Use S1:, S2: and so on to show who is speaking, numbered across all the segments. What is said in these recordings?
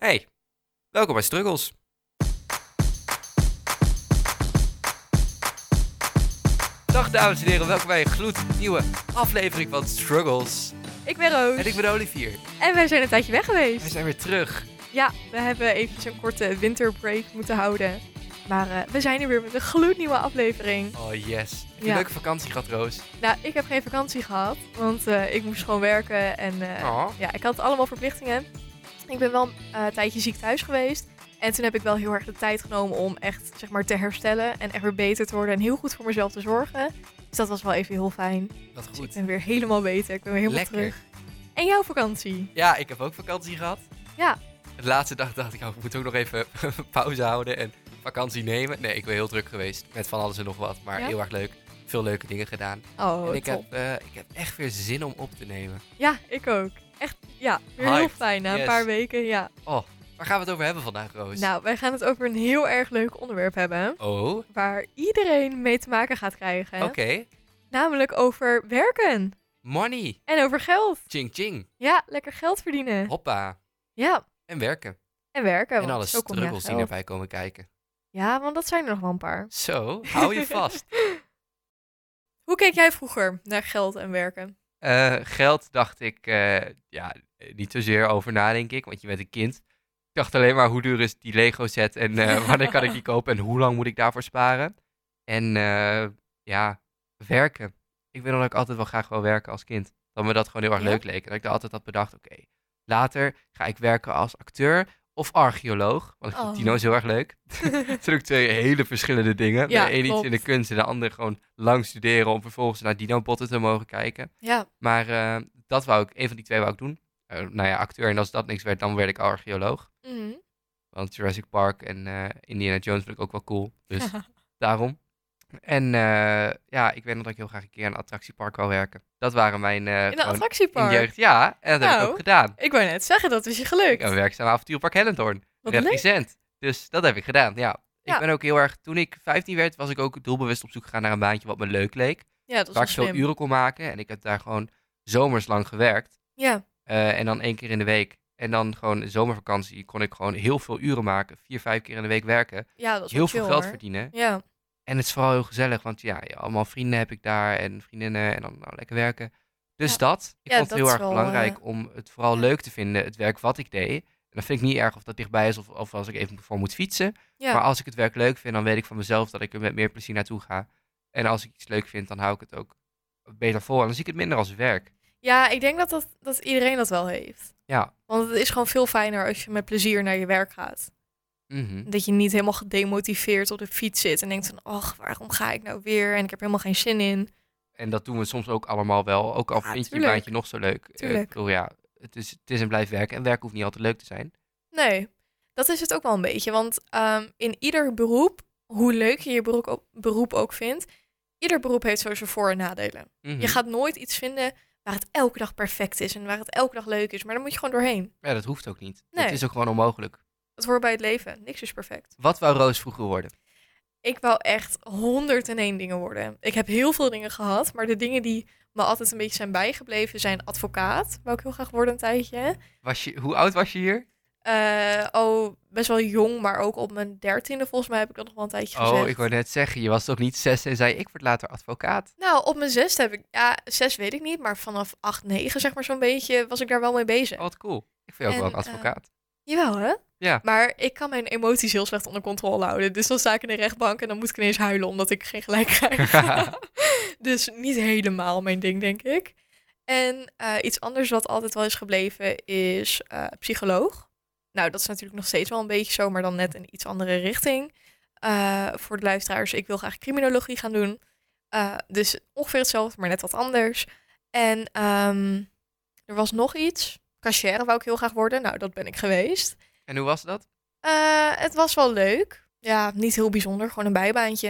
S1: Hey, welkom bij Struggles. Dag dames en heren, welkom bij een gloednieuwe aflevering van Struggles.
S2: Ik ben Roos.
S1: En ik ben Olivier.
S2: En wij zijn een tijdje weg
S1: We
S2: geweest.
S1: zijn weer terug.
S2: Ja, we hebben eventjes een korte winterbreak moeten houden. Maar eh, we zijn er weer met een gloednieuwe aflevering.
S1: Oh yes. Heb je
S2: Ja.
S1: een leuke vakantie gehad, Roos?
S2: Nou, ik heb geen vakantie gehad, want eh, ik moest gewoon werken. En eh,
S1: Oh.
S2: ja, ik had allemaal verplichtingen. Ik ben wel eh, een tijdje ziek thuis geweest. En toen heb ik wel heel erg de tijd genomen om echt zeg maar, te herstellen. En echt weer beter te worden en heel goed voor mezelf te zorgen. Dus dat was wel even heel fijn.
S1: Wat
S2: Dus ik
S1: goed.
S2: ben weer helemaal beter. Ik ben weer helemaal
S1: Lekker.
S2: terug. En jouw vakantie?
S1: Ja, ik heb ook vakantie gehad.
S2: Ja.
S1: De laatste dag dacht ik, oh, ik moet ook nog even pauze houden en vakantie nemen. Nee, ik ben heel druk geweest met van alles en nog wat. Maar
S2: Ja?
S1: heel erg leuk. Veel leuke dingen gedaan.
S2: Oh,
S1: en ik
S2: top.
S1: heb, eh, ik heb echt weer zin om op te nemen.
S2: Ja, ik ook. Echt, ja, weer heel
S1: Hyped.
S2: fijn na een
S1: Yes.
S2: paar weken, ja.
S1: Waar gaan we het over hebben vandaag, Roos?
S2: Nou, wij gaan het over een heel erg leuk onderwerp hebben,
S1: Oh, oké.
S2: waar iedereen mee te maken gaat krijgen. Namelijk over werken
S1: Money.
S2: en over geld.
S1: Ching ching.
S2: Ja, lekker geld verdienen.
S1: Hoppa.
S2: Ja,
S1: En werken.
S2: en werken.
S1: en
S2: want
S1: alle
S2: Oh, zo kom je aan
S1: struggles die
S2: geld.
S1: erbij komen kijken.
S2: Ja, want dat zijn er nog wel een paar.
S1: Zo, hou je vast.
S2: Hoe keek jij vroeger naar geld en werken?
S1: Eh, geld dacht ik, eh, ja, eh, niet zozeer over na, denk ik, want je bent een kind. Ik dacht alleen maar, hoe duur is die Lego set en eh, wanneer kan ik die kopen en hoe lang moet ik daarvoor sparen? En eh, ja, werken. Ik weet nog dat ik altijd wel graag wil werken als kind. Dat me dat gewoon heel erg
S2: Ja?
S1: leuk leek. En dat ik daar altijd had bedacht, oké, later ga ik werken als acteur of archeoloog. Want ik vind
S2: Oh.
S1: dino's heel erg leuk. Het zijn ook twee hele verschillende dingen.
S2: Ja,
S1: de een iets in de
S2: klopt.
S1: kunst en de ander gewoon lang studeren om vervolgens naar dino-botten te mogen kijken.
S2: ja,
S1: Maar eh, dat wou ik, een van die twee wou ik doen. Eh, nou ja, acteur. En als dat niks werd, dan werd ik archeoloog.
S2: mhm.
S1: Want Jurassic Park en eh, Indiana Jones vind ik ook wel cool. Dus daarom. En eh, ja, ik weet nog dat ik heel graag een keer in een attractiepark wou werken. Dat waren mijn eh,
S2: in een
S1: gewoon
S2: attractiepark.
S1: in jeugd. Ja, en dat heb ik
S2: Nou,
S1: ook gedaan.
S2: Ik wou net zeggen, dat is je gelukt.
S1: Een werkzaam avonturenpark Hellendoorn.
S2: Wat leuk.
S1: Represent. Dus dat heb ik gedaan, ja. Ik
S2: Ja.
S1: ben ook heel erg, toen ik 15 werd, was ik ook doelbewust op zoek gegaan naar een baantje wat me leuk leek.
S2: Ja, dat
S1: Waar
S2: is wel
S1: ik veel
S2: slim.
S1: uren kon maken. En ik heb daar gewoon zomerslang gewerkt.
S2: Ja,
S1: Eh, en dan één keer in de week. En dan gewoon de zomervakantie kon ik gewoon heel veel uren maken. Vier, vijf keer in de week werken.
S2: ja dat is wel
S1: Heel veel
S2: chill,
S1: geld
S2: hoor.
S1: verdienen.
S2: Ja,
S1: En het is vooral heel gezellig. Want ja, ja, allemaal vrienden heb ik daar. En vriendinnen. En dan nou, lekker werken. Dus
S2: Ja.
S1: dat. Ik
S2: Ja,
S1: vond het
S2: dat
S1: heel
S2: is
S1: erg
S2: wel,
S1: belangrijk
S2: eh,
S1: om het vooral
S2: ja.
S1: leuk te vinden. Het werk wat ik deed. En dat vind ik niet erg of dat dichtbij is. Of, of als ik even voor moet fietsen.
S2: ja.
S1: Maar als ik het werk leuk vind, dan weet ik van mezelf dat ik er met meer plezier naartoe ga. En als ik iets leuk vind, dan hou ik het ook beter vol. En dan zie ik het minder als werk.
S2: Ja, ik denk dat, dat, dat iedereen dat wel heeft.
S1: Ja.
S2: Want het is gewoon veel fijner als je met plezier naar je werk gaat.
S1: Mhm.
S2: Dat je niet helemaal gedemotiveerd op de fiets zit en denkt van, ach, waarom ga ik nou weer? En ik heb helemaal geen zin in.
S1: En dat doen we soms ook allemaal wel. Ook al
S2: Ja,
S1: vind je je
S2: Ah, tuurlijk.
S1: baantje nog zo leuk. Eh, Ik
S2: Tuurlijk.
S1: bedoel, ja, het is, het is en blijft werken. En werk hoeft niet altijd leuk te zijn.
S2: Nee, dat is het ook wel een beetje. Want ehm, in ieder beroep, hoe leuk je je beroep ook, beroep ook vindt, ieder beroep heeft zo zijn voor- en nadelen.
S1: Mhm.
S2: Je gaat nooit iets vinden waar het elke dag perfect is en waar het elke dag leuk is. Maar daar moet je gewoon doorheen.
S1: Ja, dat hoeft ook niet. Het
S2: Nee.
S1: is ook gewoon onmogelijk.
S2: Dat hoort bij het leven. Niks is perfect.
S1: Wat wou Roos vroeger worden?
S2: Ik wou echt 101 dingen worden. Ik heb heel veel dingen gehad, maar de dingen die me altijd een beetje zijn bijgebleven zijn advocaat. Wou ik heel graag worden een tijdje.
S1: Was je, hoe oud was je hier?
S2: Eh, oh, best wel jong, maar ook op mijn dertiende volgens mij heb ik dat nog wel een tijdje gezegd.
S1: Oh, ik wou net zeggen, je was toch niet zes en zei ik word later advocaat?
S2: Nou, op mijn zesde heb ik, ja, zes weet ik niet, maar vanaf acht, negen zeg maar zo'n beetje was ik daar wel mee bezig.
S1: Oh, wat cool. Ik vind jou ook
S2: En,
S1: wel een
S2: eh,
S1: advocaat.
S2: Jawel hè?
S1: Ja.
S2: Maar ik kan mijn emoties heel slecht onder controle houden. Dus dan sta ik in de rechtbank en dan moet ik ineens huilen omdat ik geen gelijk krijg. Dus niet helemaal mijn ding, denk ik. En eh, iets anders wat altijd wel is gebleven is eh, psycholoog. Nou, dat is natuurlijk nog steeds wel een beetje zo, maar dan net een iets andere richting. Eh, voor de luisteraars, ik wil graag criminologie gaan doen. Eh, dus ongeveer hetzelfde, maar net wat anders. En ehm, er was nog iets. Cashier wou ik heel graag worden. Nou, dat ben ik geweest.
S1: en hoe was dat?
S2: Eh, het was wel leuk. Ja, niet heel bijzonder. Gewoon een bijbaantje.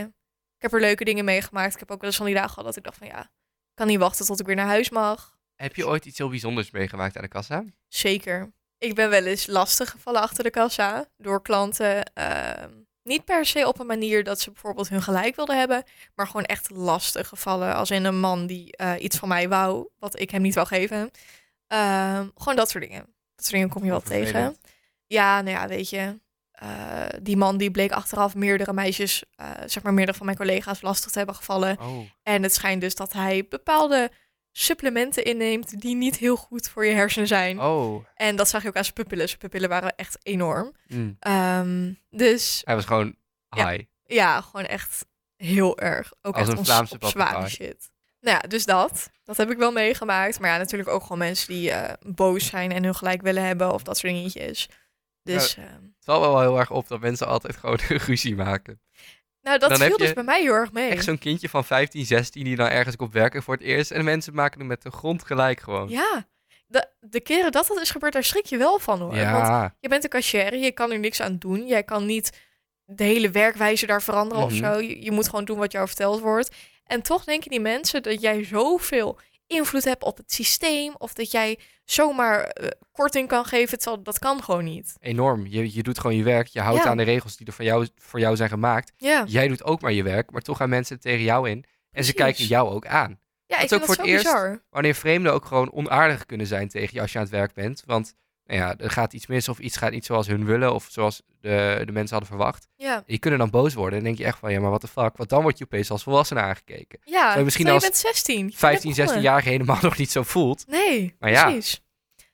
S2: Ik heb er leuke dingen meegemaakt. Ik heb ook wel eens van die dagen gehad dat ik dacht van ja, ik kan niet wachten tot ik weer naar huis mag.
S1: Heb je ooit iets heel bijzonders meegemaakt aan de kassa?
S2: Zeker. Ik ben wel eens lastig gevallen achter de kassa door klanten. ehm, niet per se op een manier dat ze bijvoorbeeld hun gelijk wilden hebben, maar gewoon echt lastig gevallen. Als in een man die eh, iets van mij wou, wat ik hem niet wou geven. Ehm, gewoon dat soort dingen. Dat soort dingen kom je wel
S1: Vervelend.
S2: tegen. Ja, nou ja, weet je. eh, die man die bleek achteraf meerdere meisjes, eh, zeg maar meerdere van mijn collega's, lastig te hebben gevallen.
S1: Oh,
S2: En het schijnt dus dat hij bepaalde supplementen inneemt die niet heel goed voor je hersenen zijn.
S1: oh.
S2: En dat zag je ook aan zijn pupillen. Zijn pupillen waren echt enorm.
S1: Mm.
S2: Ehm, dus
S1: Hij was gewoon
S2: Ja,
S1: high.
S2: ja, gewoon echt heel erg. Ook
S1: Als
S2: echt
S1: een
S2: ons-
S1: Vlaamse
S2: op
S1: papagaai.
S2: zware shit. Nou ja, dus dat. Dat heb ik wel meegemaakt. Maar ja, natuurlijk ook gewoon mensen die eh, boos zijn en hun gelijk willen hebben of dat soort dingetjes. Dus, ehm,
S1: Het valt wel heel erg op dat mensen altijd gewoon ruzie maken.
S2: nou, dat
S1: Dan heb
S2: viel dus
S1: je
S2: bij mij heel erg mee.
S1: Echt zo'n kindje van 15, 16 die dan ergens komt werken voor het eerst. En mensen maken hem met de grond gelijk gewoon.
S2: Ja, de, de keren dat dat is gebeurd, daar schrik je wel van hoor.
S1: Ja.
S2: Want je bent een cashier, je kan er niks aan doen. Jij kan niet de hele werkwijze daar veranderen
S1: Mhm.
S2: of zo. Je, je moet gewoon doen wat jou verteld wordt. En toch denken die mensen dat jij zoveel invloed hebt op het systeem... of dat jij zomaar eh, korting kan geven, terwijl dat kan gewoon niet.
S1: Enorm. Je, je doet gewoon je werk. Je houdt
S2: Ja.
S1: aan de regels die er voor jou, voor jou zijn gemaakt.
S2: Ja,
S1: Jij doet ook maar je werk, maar toch gaan mensen tegen jou in. En ze
S2: Precies.
S1: kijken jou ook aan.
S2: ja ik
S1: is
S2: vind
S1: ook
S2: dat
S1: voor
S2: zo
S1: het eerst-
S2: bizar.
S1: Wanneer vreemden ook gewoon onaardig kunnen zijn tegen je als je aan het werk bent. Want nou ja, er gaat iets mis of iets gaat niet zoals hun willen of zoals de, de mensen hadden verwacht.
S2: Ja,
S1: Je kunnen dan boos worden en denk je echt van ja, maar wat de fuck. Want dan word je opeens als volwassene aangekeken.
S2: ja
S1: je misschien
S2: terwijl
S1: als
S2: je bent 16. je bent
S1: 15,
S2: begonnen.
S1: 16 jaar helemaal nog niet zo voelt.
S2: Nee,
S1: Maar ja.
S2: precies.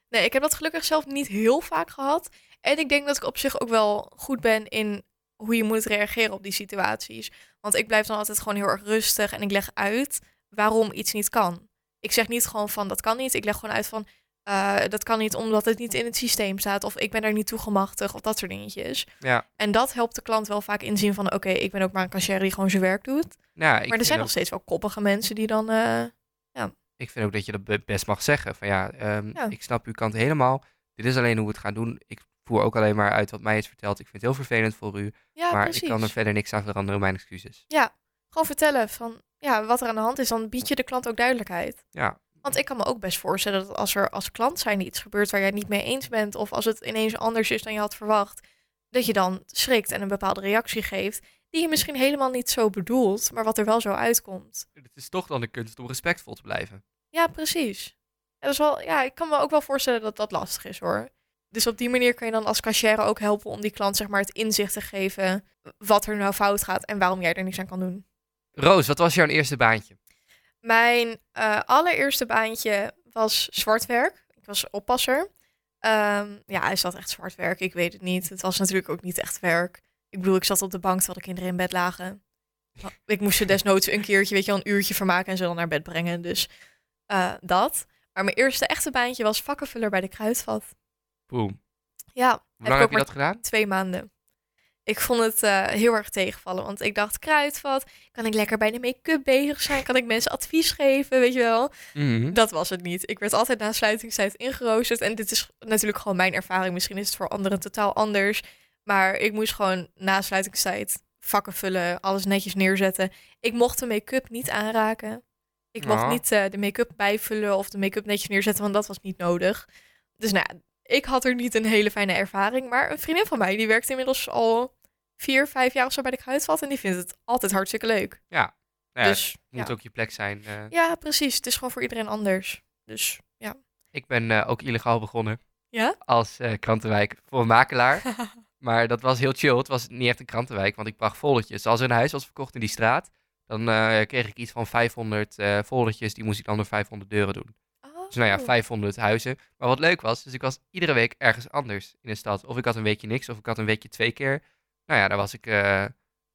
S2: Nee, ik heb dat gelukkig zelf niet heel vaak gehad. En ik denk dat ik op zich ook wel goed ben in hoe je moet reageren op die situaties. Want ik blijf dan altijd gewoon heel erg rustig en ik leg uit waarom iets niet kan. Ik zeg niet gewoon van dat kan niet. Ik leg gewoon uit van eh, dat kan niet omdat het niet in het systeem staat. Of ik ben daar niet toe gemachtigd of dat soort dingetjes.
S1: Ja.
S2: En dat helpt de klant wel vaak inzien van oké, ik ben ook maar een cashier die gewoon zijn werk doet.
S1: Nou, ik
S2: maar er
S1: vind
S2: zijn
S1: ook-
S2: nog steeds wel koppige mensen die dan... eh,
S1: ik vind ook dat je dat be- best mag zeggen. Van ja, ehm,
S2: Ja.
S1: ik snap uw kant helemaal. Dit is alleen hoe we het gaan doen. Ik voer ook alleen maar uit wat mij is verteld. Ik vind het heel vervelend voor u.
S2: ja,
S1: maar
S2: precies.
S1: ik kan er verder niks aan veranderen. Mijn excuses.
S2: gewoon vertellen van ja, wat er aan de hand is, dan bied je de klant ook duidelijkheid.
S1: Ja.
S2: Want ik kan me ook best voorstellen dat als er als klant zijn iets gebeurt waar jij het niet mee eens bent, of als het ineens anders is dan je had verwacht, dat je dan schrikt en een bepaalde reactie geeft, die je misschien helemaal niet zo bedoelt, maar wat er wel zo uitkomt.
S1: Het is toch dan de kunst om respectvol te blijven.
S2: Ja, precies. Ja, dat is wel, ja, ik kan me ook wel voorstellen dat dat lastig is hoor. Dus op die manier kan je dan als cashier ook helpen om die klant zeg maar het inzicht te geven wat er nou fout gaat en waarom jij er niks aan kan doen.
S1: Roos, wat was jouw eerste baantje?
S2: Mijn eh, allereerste baantje was zwartwerk. Ik was oppasser. Ehm, ja, is dat echt zwart werk? Ik weet het niet. Het was natuurlijk ook niet echt werk. Ik bedoel, ik zat op de bank terwijl de kinderen in bed lagen. Ik moest ze desnoods een keertje, weet je wel, een uurtje vermaken en ze dan naar bed brengen. Dus eh, dat. Maar mijn eerste echte baantje was vakkenvuller bij de Kruidvat.
S1: Boem.
S2: Ja,
S1: Hoe lang heb
S2: ook
S1: je
S2: maar
S1: dat gedaan?
S2: twee maanden. Ik vond het eh, heel erg tegenvallen, want ik dacht, kruidvat, kan ik lekker bij de make-up bezig zijn? Kan ik mensen advies geven, weet je wel?
S1: Mhm.
S2: Dat was het niet. Ik werd altijd na sluitingstijd ingeroosterd. En dit is natuurlijk gewoon mijn ervaring. Misschien is het voor anderen totaal anders. Maar ik moest gewoon na sluitingstijd vakken vullen, alles netjes neerzetten. Ik mocht de make-up niet aanraken. Ik mocht
S1: Ja.
S2: niet eh, de make-up bijvullen of de make-up netjes neerzetten, want dat was niet nodig. Dus nou, ja, ik had er niet een hele fijne ervaring. Maar een vriendin van mij, die werkt inmiddels al vier, vijf jaar of zo bij de kruidvat. En die vindt het altijd hartstikke leuk.
S1: Nou ja, het
S2: dus ja.
S1: moet ook je plek zijn. eh.
S2: ja, precies. Het is gewoon voor iedereen anders. Dus ja.
S1: Ik ben eh, ook illegaal begonnen.
S2: Ja?
S1: Als eh, krantenwijk voor een makelaar. Maar dat was heel chill. Het was niet echt een krantenwijk, want ik bracht volletjes. Als er een huis was verkocht in die straat, dan eh, kreeg ik iets van 500 eh volletjes. Die moest ik dan door 500 deuren doen. Dus nou ja,
S2: Oh.
S1: 500 huizen. Maar wat leuk was, dus ik was iedere week ergens anders in de stad. Of ik had een weekje niks, of ik had een weekje twee keer. Nou ja, daar was ik eh,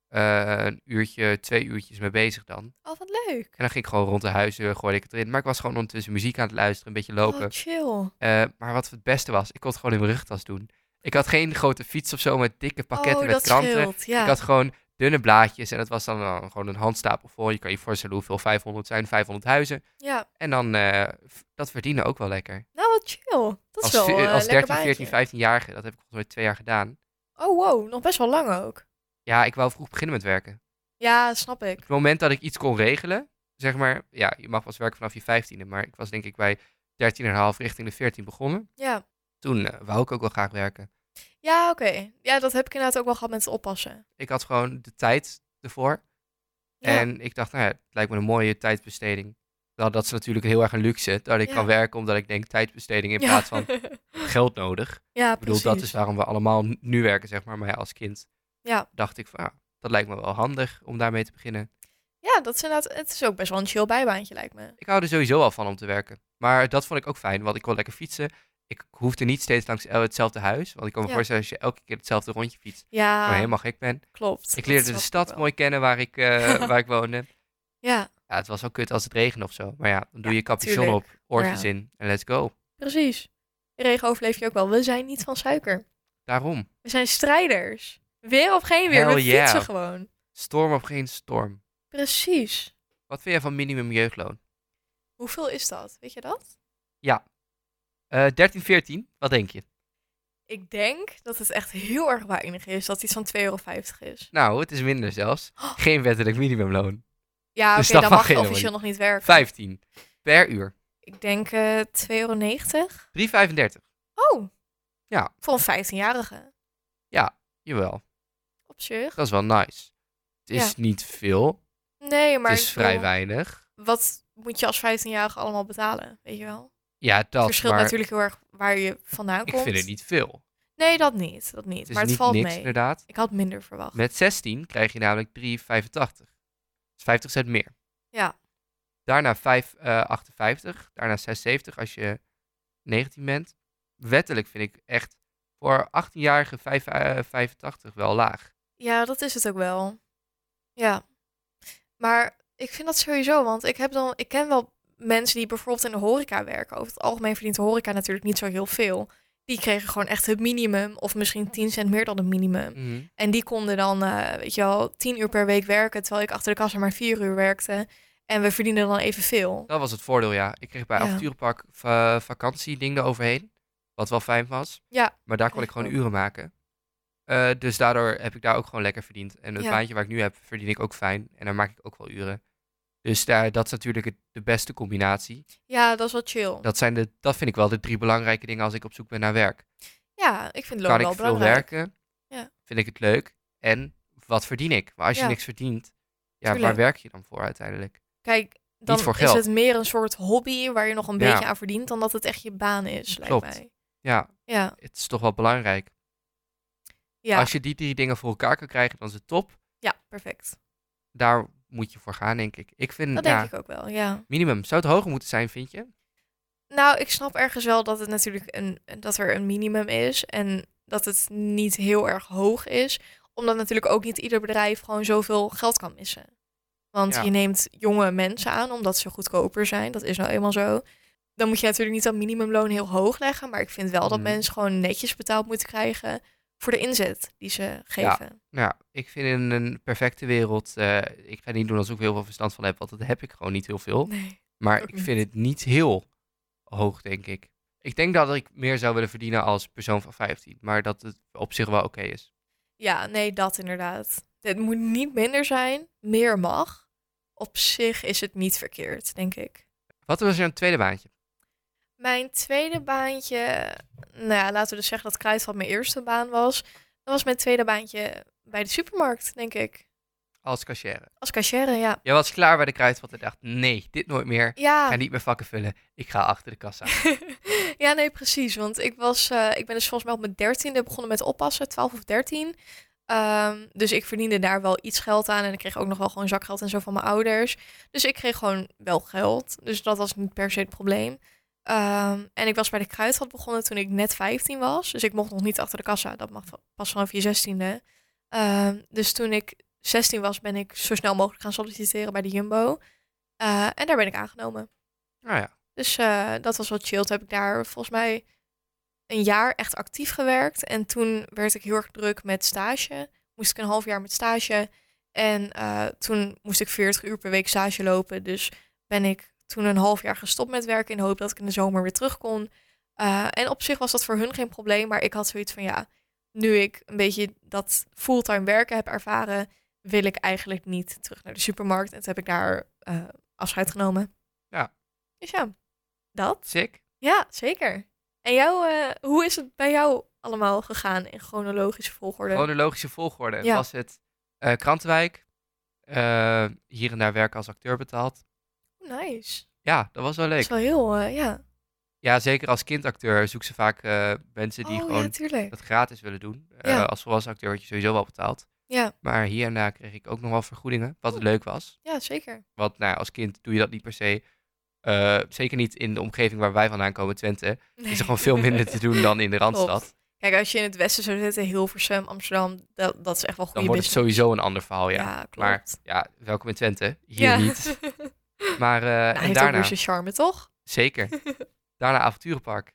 S1: eh, een uurtje, twee uurtjes mee bezig dan.
S2: Oh, wat leuk.
S1: En dan ging ik gewoon rond de huizen, gooide ik het erin. Maar ik was gewoon ondertussen muziek aan het luisteren, een beetje lopen.
S2: Oh, chill.
S1: Eh, maar wat het beste was, ik kon het gewoon in mijn rugtas doen. Ik had geen grote fiets of zo met dikke pakketten
S2: oh,
S1: met
S2: dat
S1: kranten.
S2: scheelt. Ja.
S1: Ik had gewoon dunne blaadjes en dat was dan eh, gewoon een handstapel vol. Je kan je voorstellen hoeveel 500 zijn, 500 huizen.
S2: ja.
S1: En dan, eh, f- dat verdienen ook wel lekker.
S2: Nou, wat chill. Dat
S1: als
S2: is wel
S1: ve-
S2: eh,
S1: als
S2: lekker
S1: 13, 14, 15-jarige, dat heb ik volgens mij twee jaar gedaan.
S2: baantje. Oh, wow. Nog best wel lang ook.
S1: Ja, ik wou vroeg beginnen met werken.
S2: Ja, snap ik.
S1: Op het moment dat ik iets kon regelen, zeg maar, ja, je mag pas werken vanaf je 15e, maar ik was denk ik bij 13,5 richting de 14 begonnen.
S2: Ja.
S1: Toen eh, wou ik ook wel graag werken.
S2: Ja, oké. Ja, dat heb ik inderdaad ook wel gehad met het oppassen.
S1: ik had gewoon de tijd ervoor.
S2: Ja.
S1: En ik dacht, nou ja, het lijkt me een mooie tijdbesteding. Nou, dat is natuurlijk heel erg een luxe. Dat ik
S2: Ja.
S1: kan werken omdat ik denk tijdbesteding in plaats van geld nodig.
S2: ja,
S1: Ik bedoel,
S2: precies.
S1: dat is waarom we allemaal nu werken, zeg maar. Maar ja, als kind
S2: Ja.
S1: dacht ik van, ah, dat lijkt me wel handig om daarmee te beginnen.
S2: Ja, dat is inderdaad, het is ook best wel een chill bijbaantje, lijkt me.
S1: Ik hou er sowieso al van om te werken. Maar dat vond ik ook fijn, want ik kon lekker fietsen. Ik hoefde niet steeds langs el- hetzelfde huis. Want ik kan me
S2: Ja.
S1: voorstellen, als je elke keer hetzelfde rondje fietst,
S2: Ja,
S1: waar Oh, helemaal gek ben.
S2: klopt.
S1: Ik
S2: Dat
S1: leerde de
S2: snap
S1: stad
S2: wel.
S1: mooi kennen waar ik, eh, waar ik woonde.
S2: Ja,
S1: Ja, het was wel kut als het regende of zo. Maar ja, dan doe
S2: Ja,
S1: je capuchon
S2: tuurlijk.
S1: op, oortjes
S2: Ja.
S1: in en let's go.
S2: precies. In regen overleef je ook wel. We zijn niet van suiker.
S1: Daarom.
S2: We zijn strijders. Weer of geen weer, we
S1: Hell yeah.
S2: fietsen gewoon.
S1: Storm of geen storm.
S2: Precies.
S1: Wat vind jij van minimum jeugdloon?
S2: Hoeveel is dat? Weet je dat?
S1: Eh 13, 14, wat denk je?
S2: Ik denk dat het echt heel erg weinig is. Dat het iets van 2,50 euro is.
S1: Nou, het is minder zelfs.
S2: Oh.
S1: Geen wettelijk minimumloon.
S2: Ja, oké,
S1: Dus dat
S2: dan
S1: mag
S2: mag je
S1: helemaal
S2: officieel nog niet werken.
S1: 15 per uur.
S2: Ik denk eh 2,90 euro.
S1: 3,35.
S2: Oh.
S1: Ja.
S2: Voor een 15-jarige.
S1: Jawel,
S2: Op zich.
S1: dat is wel nice. Het is niet veel,
S2: Nee, maar
S1: het is
S2: ik bedoel,
S1: vrij weinig.
S2: wat moet je als 15-jarige allemaal betalen? Weet je wel?
S1: Ja,
S2: Het
S1: dat,
S2: verschilt
S1: maar
S2: natuurlijk heel erg waar je vandaan
S1: ik
S2: komt.
S1: vind het niet veel.
S2: Nee, dat niet. Dat niet.
S1: Het is
S2: maar het
S1: niet
S2: valt
S1: niks,
S2: mee.
S1: inderdaad.
S2: Ik had minder verwacht.
S1: Met 16 krijg je namelijk 3,85. Dat is 50 cent meer.
S2: Ja.
S1: Daarna 5,58. daarna 6,70 als je 19 bent. Wettelijk vind ik echt voor 18-jarige 5, eh, 85 wel laag.
S2: Ja, dat is het ook wel. Ja. Maar ik vind dat sowieso, want ik heb dan, ik ken wel mensen die bijvoorbeeld in de horeca werken. Over het algemeen verdient de horeca natuurlijk niet zo heel veel. Die kregen gewoon echt het minimum, of misschien 10 cent meer dan het minimum.
S1: Mhm.
S2: En die konden dan, eh, weet je wel, 10 uur per week werken, terwijl ik achter de kassa maar 4 uur werkte. En we verdienden dan evenveel.
S1: Dat was het voordeel, ja. Ik kreeg bij
S2: Ja.
S1: avonturenpark va- vakantieding eroverheen. Wat wel fijn was.
S2: Ja,
S1: Maar daar kon
S2: kreeg
S1: ik gewoon
S2: ik
S1: uren maken. Eh, dus daardoor heb ik daar ook gewoon lekker verdiend. En het
S2: Ja.
S1: baantje waar ik nu heb, verdien ik ook fijn. En daar maak ik ook wel uren. Dus daar, dat is natuurlijk het- de beste combinatie.
S2: ja, dat is wel chill.
S1: Dat, zijn de, dat vind ik wel de drie belangrijke dingen als ik op zoek ben naar werk.
S2: Ja, ik vind loon
S1: Kan
S2: wel
S1: ik veel
S2: belangrijk.
S1: werken?
S2: Ja.
S1: Vind ik het leuk? En wat verdien ik? Maar als je
S2: Ja.
S1: niks verdient, ja, waar
S2: Tuurlijk.
S1: werk je dan voor uiteindelijk?
S2: Kijk, dan
S1: voor
S2: is
S1: geld.
S2: het meer een soort hobby waar je nog een
S1: Ja.
S2: beetje aan verdient dan dat het echt je baan is,
S1: Klopt.
S2: lijkt mij.
S1: Ja,
S2: Ja,
S1: het is toch wel belangrijk.
S2: ja,
S1: Als je die drie dingen voor elkaar kan krijgen, dan is het top.
S2: ja, perfect.
S1: Daar moet je voor gaan, denk ik. Ik vind,
S2: Dat
S1: Hm, ja,
S2: denk ik ook wel, ja.
S1: minimum. Zou het hoger moeten zijn, vind je?
S2: Nou, ik snap ergens wel dat het natuurlijk een, dat er een minimum is en dat het niet heel erg hoog is, omdat natuurlijk ook niet ieder bedrijf gewoon zoveel geld kan missen. Want
S1: Ja.
S2: je neemt jonge mensen aan omdat ze goedkoper zijn, dat is nou eenmaal zo. Dan moet je natuurlijk niet dat minimumloon heel hoog leggen, maar ik vind wel dat
S1: Mhm.
S2: mensen gewoon netjes betaald moeten krijgen voor de inzet die ze geven.
S1: Nou, ja, ik vind in een perfecte wereld... eh, ik ga niet doen alsof ik heel veel verstand van heb, want dat heb ik gewoon niet heel veel.
S2: Nee.
S1: Maar
S2: ook
S1: ik
S2: niet.
S1: vind het niet heel hoog, denk ik. Ik denk dat ik meer zou willen verdienen als persoon van 15. Maar dat het op zich wel oké is.
S2: Ja, nee, dat inderdaad. Het moet niet minder zijn, meer mag. Op zich is het niet verkeerd, denk ik.
S1: Wat was jouw tweede baantje?
S2: Mijn tweede baantje, nou ja, laten we dus zeggen dat Kruid wat mijn eerste baan was. Dat was mijn tweede baantje bij de supermarkt, denk ik.
S1: Als cashier.
S2: Als cashière, ja.
S1: Jij was klaar bij de kruidvat en dacht... Nee, dit nooit meer. Ik ga
S2: Ja,
S1: niet meer vakken vullen. Ik ga achter de kassa.
S2: ja nee, precies. Want ik, was, eh, ik ben dus volgens mij op mijn dertiende begonnen met oppassen, 12 of 13. Ehm, dus ik verdiende daar wel iets geld aan. En ik kreeg ook nog wel gewoon zakgeld en zo van mijn ouders. Dus ik kreeg gewoon wel geld. Dus dat was niet per se het probleem. Ehm, en ik was bij de kruidvat begonnen toen ik net 15 was. Dus ik mocht nog niet achter de kassa. Dat mag va- pas vanaf je 16e. Ehm, dus toen ik 16 was, ben ik zo snel mogelijk gaan solliciteren bij de Jumbo. Eh, en daar ben ik aangenomen.
S1: Nou ja.
S2: Dus eh, dat was wel chill. Toen heb ik daar volgens mij een jaar echt actief gewerkt. En toen werd ik heel erg druk met stage. Moest ik een half jaar met stage. En eh, toen moest ik 40 uur per week stage lopen. Dus ben ik toen een half jaar gestopt met werken in de hoop dat ik in de zomer weer terug kon. Eh, en op zich was dat voor hun geen probleem. Maar ik had zoiets van ja, nu ik een beetje dat fulltime werken heb ervaren, wil ik eigenlijk niet terug naar de supermarkt. En toen heb ik daar eh, afscheid genomen.
S1: Ja.
S2: Dus ja, dat.
S1: Sick.
S2: Ja, zeker. En jou, eh, hoe is het bij jou allemaal gegaan in chronologische volgorde?
S1: Chronologische volgorde
S2: Ja.
S1: was het eh Krantenwijk. eh, hier en daar werken als acteur betaald.
S2: Nice.
S1: Ja, dat was wel
S2: Dat
S1: leuk.
S2: is wel heel, eh, ja.
S1: Ja, zeker als kindacteur zoek ze vaak eh, mensen die
S2: Oh,
S1: gewoon
S2: ja, tuurlijk.
S1: dat gratis willen doen. Eh,
S2: Ja.
S1: als volwassen acteur word je sowieso wel betaald.
S2: Ja,
S1: Maar hier en daar kreeg ik ook nog wel vergoedingen, wat
S2: Oh.
S1: leuk was.
S2: ja, zeker.
S1: Want nou, ja, als kind doe je dat niet per se. Eh, zeker niet in de omgeving waar wij vandaan komen, Twente.
S2: Nee.
S1: Is er gewoon veel minder te doen dan in de Randstad.
S2: Kijk, als je in het westen zou zitten, Hilversum, Amsterdam, dat, dat is echt wel
S1: Dan wordt het
S2: goede business.
S1: sowieso een ander verhaal, ja.
S2: ja, klopt.
S1: maar ja, welkom in Twente. Hier
S2: ja.
S1: niet. Maar eh,
S2: Nou,
S1: en
S2: heeft ook
S1: daarna,
S2: weer zijn charme, toch?
S1: zeker. Daarna avonturenpark.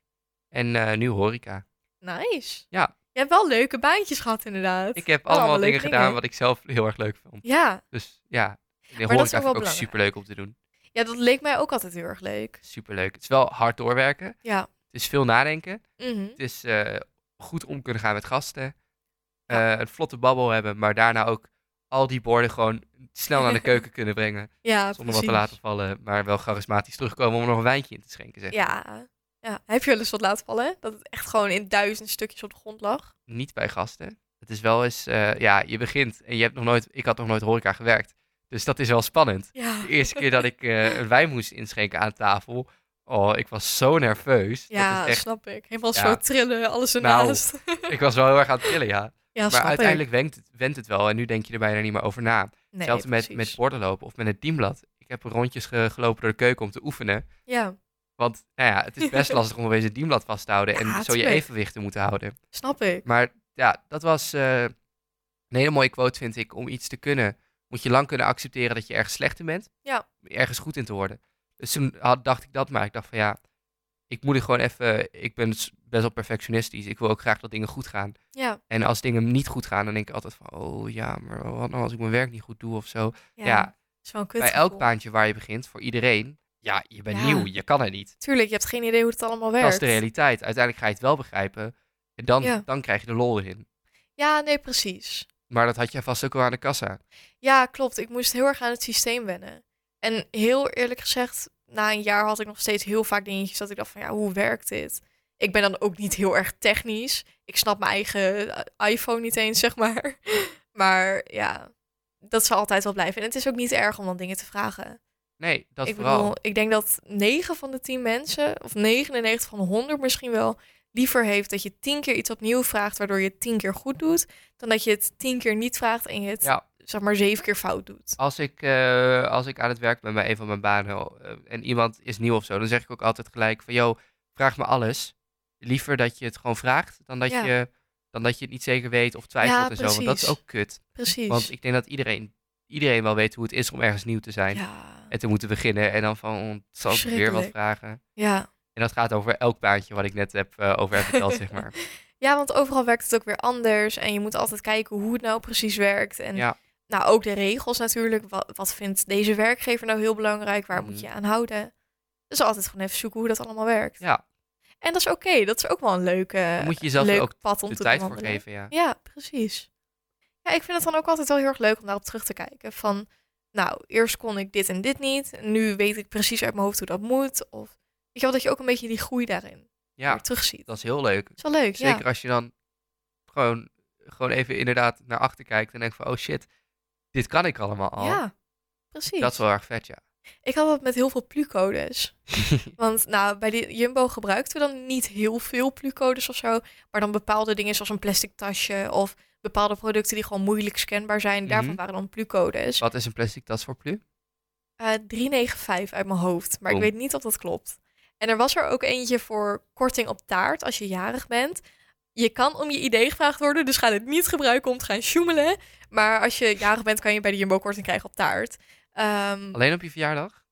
S1: En eh, nu horeca.
S2: Nice.
S1: Ja.
S2: Je hebt wel leuke baantjes gehad, inderdaad.
S1: Ik heb
S2: Wel allemaal
S1: allemaal
S2: leuke
S1: dingen gedaan
S2: dingen.
S1: wat ik zelf heel erg leuk vond.
S2: Ja.
S1: Dus ja, de
S2: is
S1: horeca
S2: ook
S1: vind
S2: wel
S1: ik ook
S2: belangrijk.
S1: superleuk om te doen.
S2: ja, dat leek mij ook altijd heel erg leuk.
S1: Superleuk. Het is wel hard doorwerken.
S2: Ja.
S1: Het is veel nadenken.
S2: Mhm.
S1: Het is eh, goed om kunnen gaan met gasten. Eh, een vlotte babbel hebben, maar daarna ook al die borden gewoon snel naar de keuken kunnen brengen.
S2: Ja,
S1: Zonder wat te
S2: precies.
S1: laten vallen, maar wel charismatisch terugkomen om nog een wijntje in te schenken. Zeg.
S2: Ja. ja. Heb je wel eens wat laten vallen? Dat het echt gewoon in duizend stukjes op de grond lag?
S1: Niet bij gasten. Het is wel eens, eh, ja, je begint en je hebt nog nooit, ik had nog nooit horeca gewerkt. Dus dat is wel spannend.
S2: Ja.
S1: De eerste keer dat ik eh, een wijn moest inschenken aan tafel, oh, ik was zo nerveus.
S2: Ja,
S1: dat
S2: dat
S1: is echt,
S2: snap ik. Helemaal
S1: Ja.
S2: zo trillen, alles
S1: Nou,
S2: ernaast.
S1: ik was wel heel erg aan het trillen, ja.
S2: ja,
S1: maar
S2: snap
S1: uiteindelijk wendt het, wendt het wel en nu denk je er bijna niet meer over na.
S2: ik. Nee,
S1: Hetzelfde met, met
S2: precies.
S1: borden lopen of met het teamblad. Ik heb rondjes ge- gelopen door de keuken om te oefenen.
S2: Ja,
S1: Want nou ja, het is best lastig om opeens het teamblad vast te houden en
S2: Ja,
S1: zo je
S2: tuurlijk.
S1: evenwicht te moeten houden.
S2: snap ik.
S1: Maar ja, dat was eh, een hele mooie quote, vind ik. Om iets te kunnen, moet je lang kunnen accepteren dat je ergens slecht in bent.
S2: Ja.
S1: om Ergens goed in te worden. Dus toen had, dacht ik dat, maar ik dacht van ja, ik moet er gewoon even. Ik ben s- best wel perfectionistisch. Ik wil ook graag dat dingen goed gaan.
S2: Ja,
S1: En als dingen niet goed gaan, dan denk ik altijd van oh ja, maar wat nou als ik mijn werk niet goed doe of zo.
S2: ja.
S1: ja
S2: is wel een
S1: bij
S2: kutgevoel.
S1: elk baantje waar je begint, voor iedereen, ja, je bent
S2: Ja.
S1: nieuw, je kan het niet.
S2: Tuurlijk, je hebt geen idee hoe het allemaal werkt.
S1: Dat is de realiteit. Uiteindelijk ga je het wel begrijpen en dan,
S2: Ja.
S1: dan krijg je de lol erin.
S2: Ja, nee, precies.
S1: Maar dat had jij vast ook al aan de kassa.
S2: Ja, klopt. Ik moest heel erg aan het systeem wennen. En heel eerlijk gezegd, na een jaar had ik nog steeds heel vaak dingetjes dat ik dacht van ja, hoe werkt dit? Ik ben dan ook niet heel erg technisch. Ik snap mijn eigen eh, iPhone niet eens, zeg maar. Maar ja, dat zal altijd wel blijven. En het is ook niet erg om dan dingen te vragen.
S1: Nee, dat
S2: ik
S1: vooral.
S2: bedoel, ik denk dat 9 van de 10 mensen, of 99 van de 100 misschien wel, liever heeft dat je 10 keer iets opnieuw vraagt, waardoor je het 10 keer goed doet, dan dat je het 10 keer niet vraagt en je het
S1: Ja.
S2: zeg maar 7 keer fout doet.
S1: Als ik, eh, als ik aan het werk ben bij een van mijn banen eh, en iemand is nieuw of zo, dan zeg ik ook altijd gelijk van, yo, vraag me alles. Liever dat je het gewoon vraagt dan dat,
S2: Ja.
S1: je, dan dat je het niet zeker weet of twijfelt
S2: Ja,
S1: en zo. Want dat is
S2: precies.
S1: ook kut.
S2: Precies.
S1: Want ik denk dat iedereen, iedereen wel weet hoe het is om ergens nieuw te zijn.
S2: ja.
S1: En te moeten beginnen en dan van, oh, zal ik weer wat
S2: Verschrikkelijk.
S1: vragen?
S2: Ja.
S1: En dat gaat over elk baantje wat ik net heb eh, over heb verteld, zeg maar.
S2: ja, want overal werkt het ook weer anders en je moet altijd kijken hoe het nou precies werkt. En
S1: Ja.
S2: nou ook de regels natuurlijk. Wat, wat vindt deze werkgever nou heel belangrijk? Waar moet
S1: Mhm.
S2: je aan houden? Dus altijd gewoon even zoeken hoe dat allemaal werkt.
S1: Ja,
S2: En dat is oké, dat is ook wel een leuke,
S1: Dan moet je jezelf er
S2: leuk
S1: ook
S2: pad om
S1: de
S2: te
S1: tijd voor
S2: bewandelen.
S1: geven, ja.
S2: Ja, precies. Ja, ik vind het dan ook altijd wel heel erg leuk om daarop terug te kijken. Van, nou, eerst kon ik dit en dit niet. Nu weet ik precies uit mijn hoofd hoe dat moet. Of, weet je wel, dat je ook een beetje die groei daarin
S1: Ja,
S2: weer terugziet. Dat
S1: dat is heel leuk.
S2: is wel leuk,
S1: Zeker
S2: ja.
S1: als je dan gewoon, gewoon even inderdaad naar achter kijkt en denkt van, oh shit, dit kan ik allemaal al.
S2: Ja, precies.
S1: dat is wel erg vet, ja.
S2: Ik had dat met heel veel plucodes. Want nou, bij de Jumbo gebruikten we dan niet heel veel plucodes of zo. Maar dan bepaalde dingen zoals een plastic tasje of bepaalde producten die gewoon moeilijk scanbaar zijn. Daarvan
S1: Mhm.
S2: waren dan plucodes.
S1: wat is een plastic tas voor plu?
S2: Eh, 395 uit mijn hoofd, maar ik
S1: Boom.
S2: weet niet of dat klopt. En er was er ook eentje voor korting op taart als je jarig bent. Je kan om je idee gevraagd worden, dus ga het niet gebruiken om te gaan sjoemelen. Maar als je jarig bent, kan je bij de Jumbo korting krijgen op taart. Ehm,
S1: Alleen op je verjaardag?